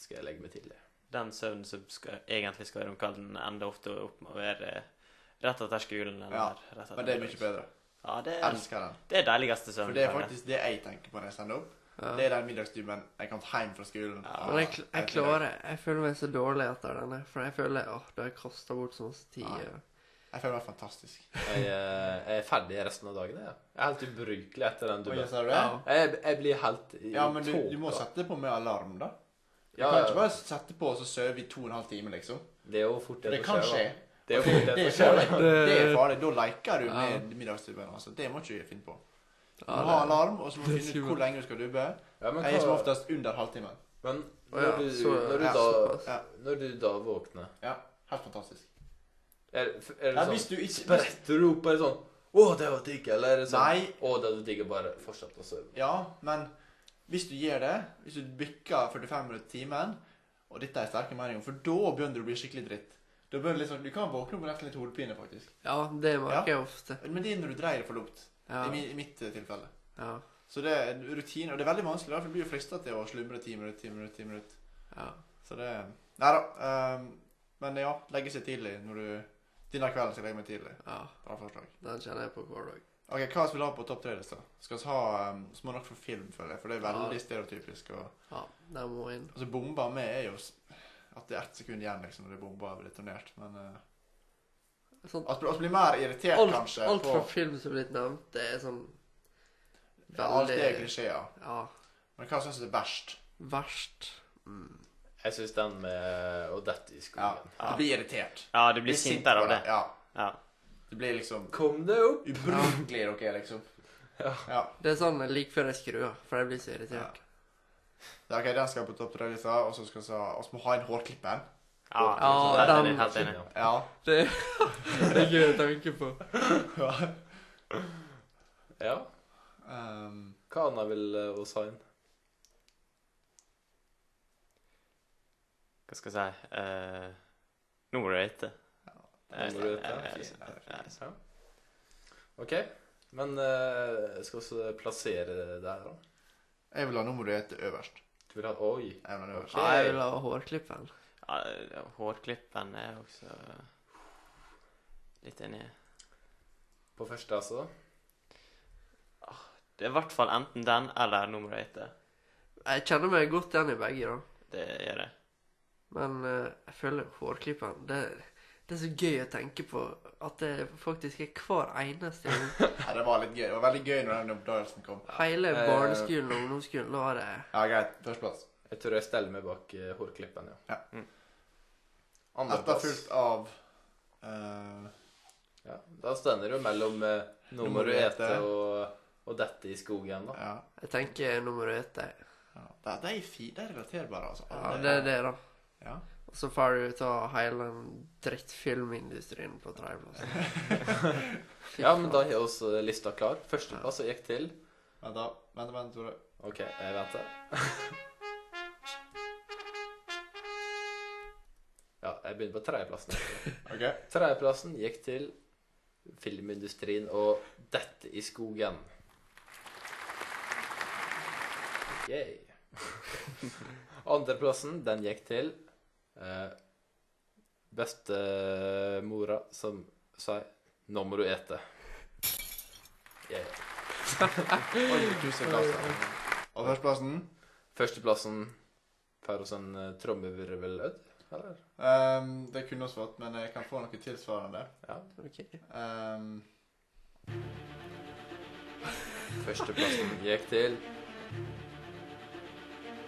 A: skal jeg legge meg tidlig.
D: Den søvnen som skal, egentlig skal være om kvelden, ender ofte opp med å være eh, rett etter skolen. Eller
B: Ja,
D: rett etter
B: Men det er mye bedre.
D: Ja, det
B: Jeg
D: er,
B: elsker den.
D: det er deiligste søvnen.
B: For det er
D: kan jeg.
B: faktisk det jeg tenker på når jeg står opp.
C: ja.
B: Det er den middagsdubben jeg kan hjem fra skolen.
D: Ja,
C: Men jeg, kl- jeg
B: etter middag.
C: klarer Jeg føler meg så dårlig etter denne, for jeg føler åh, da har jeg kasta bort så masse tid.
B: Ja.
C: og-
B: Jeg føler meg fantastisk.
A: Jeg, eh, jeg er ferdig resten av dagen. Jeg, jeg er helt ubrukelig etter den
B: Oi,
A: dubben.
B: sa du det?
C: Ja.
A: Jeg, jeg blir helt i
B: Ja, men du, du må
A: tåka.
B: sette på med alarm, da. Du
A: Ja,
B: kan ikke
A: ja,
B: bare sette på og så sove i to og en halv time, liksom.
A: det er jo fort
B: For det
A: som
B: kan
A: skjer,
B: skje.
A: da. Det er jo fort
B: Det
A: det
B: er
A: som skjer.
B: farlig.
A: da.
B: Det er
C: Det-
B: farlig. Da leker du
C: Ja.
B: med middagsdubben. Altså. Det må ikke du finne på. Du
C: Ja,
B: må ha
C: det-
B: alarm, og så må du
C: det
B: finne ut
C: skulle-
B: hvor lenge du skal dubbe.
A: Ja, men,
B: Jeg er som
A: hva,
B: oftest under halvtimen.
A: men
C: Å ja,
A: når, du,
C: så-
A: når, du
B: ja,
A: da,
C: såpass.
B: Ja.
A: når du da våkner
B: Ja, helt fantastisk.
A: Er, er
B: Ja,
A: det
B: hvis
A: sånn
B: du ikke hvis,
A: Spretter du opp og er sånn 'Å, det var digg', eller er det sånn
B: Nei.
A: 'Å, det var digg', og bare fortsett å sove?
B: Ja, men hvis du gjør det, hvis du bikker 45 minutter i timen, Og dette er sterke meninger, for da begynner det å bli skikkelig dritt. Da begynner det liksom, Du kan våkne opp med nesten litt hodepine, faktisk.
C: Ja, det merker jeg ofte.
B: Men det er når du dreier det for dumt.
C: Ja.
B: I, mi, I mitt eh, tilfelle.
C: Ja.
B: Så det er en rutine, og det er veldig vanskelig, da, for du blir jo frista til å slumre ti minutter, ti minutter, ti minutter.
C: ja.
B: Så det Nei da. ehm, men ja, legge seg tidlig når du Denne kvelden skal jeg legge meg tidlig.
C: ja.
B: Bra forslag.
C: Den kjenner jeg på hver dag.
B: Ok, Hva skal vi ha på topp tre-lista? Skal vi ha um, små nok for film, føler jeg, for det er veldig
C: Ja.
B: stereotypisk. Og,
C: Ja, den må inn.
B: altså, bomba med er jo s- at det er ett sekund igjen liksom, når det bomba er detonert. Men eh,
C: Sånn,
B: at vi blir mer irritert,
C: alt,
B: kanskje,
C: alt
B: på
C: fra film som er blitt nevnt, det er sånn
B: ja, alt det er
C: veldig
B: klisjeer.
C: Ja.
B: Men hva syns du er verst?
C: Verst.
A: Jeg syns den med å dette i skogen
B: Du blir irritert.
D: Ja, du blir
B: sint
D: sintere
B: på
D: av det.
B: Ja.
D: Ja.
B: Du blir liksom
A: Kom deg opp!
B: ubrukelig, dere, liksom.
A: Ja.
B: ja.
C: Det er sånn like før jeg skrur av, for jeg blir så irritert.
B: Ja, ok, Den skal på topp tre-lista, og så skal vi ha- og så må vi ha en hårklipper.
D: Ja,
C: Ja,
D: helt
C: den-
D: enig. Helt enig.
B: Ja.
C: Det, det er gøy å tenke på.
A: Ja.
B: Um,
A: Hva annet vil eh, oss ha inn?
D: Hva skal jeg si Eh, Nå må du vite.
A: Nå må du vite.
D: Eh, eh,
B: Fint.
D: eh, eh,
A: Ja. OK. Men eh, skal vi plassere det her, da?
B: jeg vil ha nummer du heter øverst.
A: Du vil ha Oi.
B: Jeg vil ha det øverst.
C: Ja, jeg vil ha hårklippen.
D: Ja, eh, hårklippen er jeg også litt enig i.
A: På første, altså?
D: Det er i hvert fall enten den eller nummer åtte.
C: Jeg kjenner meg godt igjen i begge, da.
D: Det er det.
C: Men eh, jeg føler hårklippen det, det er så gøy å tenke på at det faktisk er hver eneste gang.
B: Ja, det var litt gøy. Det var veldig gøy når den oppdagelsen kom.
C: Hele
A: Eh,
C: barneskolen og ungdomsskolen, da har jeg
B: Ja, greit. Førsteplass.
A: Jeg tror jeg steller meg bak eh, hårklippen, ja.
B: Ja.
D: Mm.
A: Andreplass.
B: Etterfulgt av eh,
A: Ja, da stender det jo mellom eh, 'Nå må du ete'
B: ete.
A: og, og 'dette i skogen', da.
B: ja.
C: Jeg tenker nummer ett, jeg.
B: ja. De, de, er fi- de er relaterbare, altså.
C: Ja, det er det, da.
B: Ja.
C: Og så får du ta hele den drittfilmindustrien på tredjeplass. Fy
A: Ja, men da
C: faen.
A: har vi eh, lista klar. Førsteplass gikk til
B: Vent, da. Vent, vent, Tore.
A: OK, jeg venter. Ja, jeg begynner på tredjeplassen.
B: OK.
A: Tredjeplassen gikk til filmindustrien og 'Dette i skogen'. Yay. Andreplassen, den gikk til eh, bestemora som sa 'Nå må du ete'. Yay.
B: Oi, du kuser kassa. Og førsteplassen
A: Førsteplassen får oss en eh, trommevirvelødd, eller?
B: ehm, Det kunne vi fått, men jeg kan få noe tilsvarende.
A: Ja.
C: Ok.
B: Ehm,
A: Førsteplassen gikk til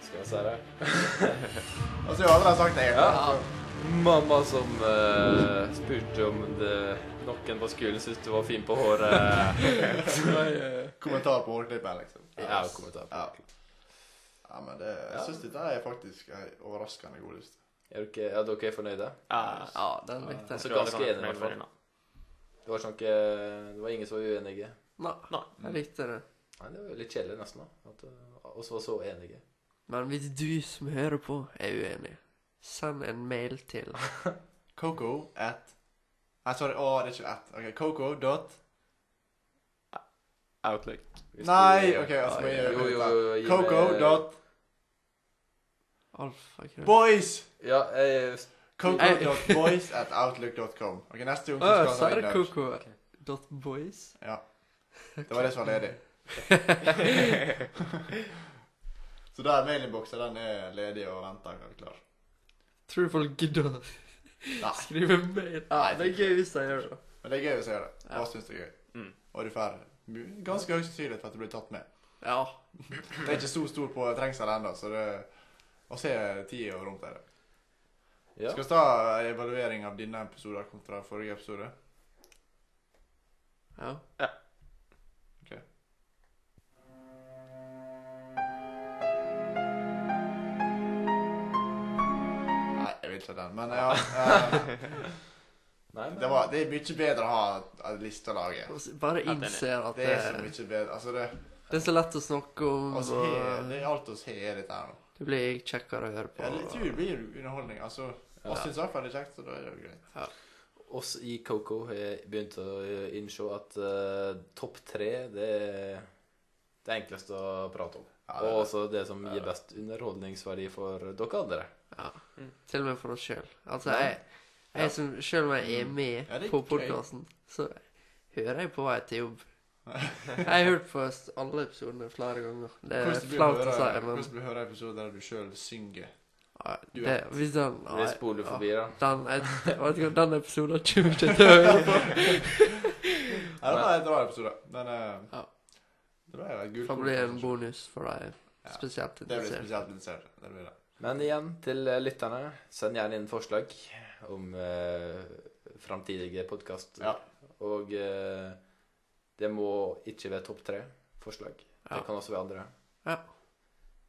A: Skal vi se her
B: altså, jeg har allerede sagt det.
A: Ja. Mamma som eh, spurte om det, noen på skolen syntes du var fin på håret.
B: Kommentar på hårklippet, liksom.
A: Jeg har kommentar på
B: Ja.
A: det.
B: Ja, men det, jeg
A: Ja.
B: syns dette er faktisk ei overraskende god liste.
A: Er dere, ja, dere er fornøyde?
D: Ja,
C: Ja, den likte
A: Altså,
C: jeg.
D: jeg tror alle
A: ganske
D: Eh, kan være
A: enig i hvert
D: fornøyd med
A: Det var, sånn ikke, det var ingen som var uenige.
C: Nei,
D: Nei.
C: jeg likte det.
A: Nei, Det var jo litt kjedelig, nesten. da, At eh, oss var så enige.
C: Men hvis du som hører på er uenig, send en mail til
B: Coco at Nei, sorry. Å, det er ikke at. Ok, Coco dot
D: den. Outlook.
A: Hvis
B: Nei,
A: du-
B: OK. Altså, vi
A: Jo, jo, jo, gi meg-
B: Coco dot
C: alfakrøll.
B: boys.
A: Ja, jeg,
B: Coco
C: Nei.
B: dot boys at outlook.com. Ok, neste gang
C: Å ja,
B: så
C: så
B: skal
C: er
B: vi
C: det
B: ha innøvd.
C: Coco dot boys.
B: Ja. Det var det som var ledig. så da er mailinnboksen den er ledig og venter og klar.
C: Tror du folk gidder å
B: Nei.
C: skrive mail? Nei, det er gøy hvis de gjør det.
B: Men det er gøy å se det.
C: Ja.
B: Hva syns du er gøy?
D: Mm.
B: Og du får mu- ganske høy sannsynlighet for at du blir tatt med.
C: Ja.
B: Det er ikke så stor på trengsel ennå, så det å se tida og rundt er det.
A: ja.
B: Skal vi ta en evaluering av denne episoden kontra forrige episode?
C: ja.
B: Nei, jeg vil ikke den, men ja. eh,
A: Nei, men
B: det, var, det er mye bedre å ha en liste å lage.
C: Og så Bare
D: Ja, den er-
C: innser at
B: Det
C: det,
B: er så mye bedre. Altså, det
C: det er så lett å snakke om.
B: Altså, he,
C: Og,
B: det er alt oss har, er dette her nå.
C: Det blir kjekkere å høre på.
B: Ja, det tror jeg blir underholdning. Altså,
A: Ja.
B: oss syns i hvert fall det er kjekt, så da er det jo greit.
A: Oss i Coco har begynt å innse at eh, topp tre, det er det enkleste å prate om.
B: Ja, det er
A: Og
B: det.
A: også det som
B: Ja, det
A: gir
B: er
A: best underholdningsverdi for dere andre.
C: Ja. Til og med for oss sjøl. Altså,
A: Ja.
C: jeg,
A: Ja.
C: jeg som, selv om jeg er med
B: Mm. Ja, det er
C: på
B: gøy.
C: podkasten, så hører jeg på vei til jobb. jeg har hørt på s- alle episodene flere ganger. Det er
B: Hvordan blir å
C: flaut å si,
B: høre-
C: men
B: Hvordan blir å høre episoder der du sjøl synger?
C: ja,
B: Du
C: det,
B: vet.
C: hvis den
A: Vi spoler forbi, da.
C: Den, jeg, jeg vet ikke, om den episoden kommer jeg ikke til å høre på.
B: Ja, det var en bra episode, men eh,
C: Ja.
B: Det ble et
C: Det
B: gult
C: kan bli en bonus for deg
B: Ja.
C: spesielt
B: Det blir
C: interessert.
B: spesielt interessert. Det blir det.
A: Men igjen, til eh, lytterne, send gjerne inn forslag om eh, framtidige podkaster.
B: Ja.
A: Og eh, det må ikke være topp tre-forslag.
C: Ja.
A: Det kan også være andre.
C: Ja.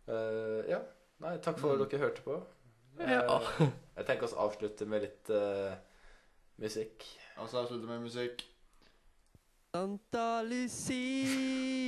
C: Mm.
A: Eh, ja. Nei, takk for at dere hørte på.
C: Ja.
A: Eh, jeg tenker oss avslutte med litt eh, musikk.
B: Og så avslutter vi med musikk.
C: Santa Lucia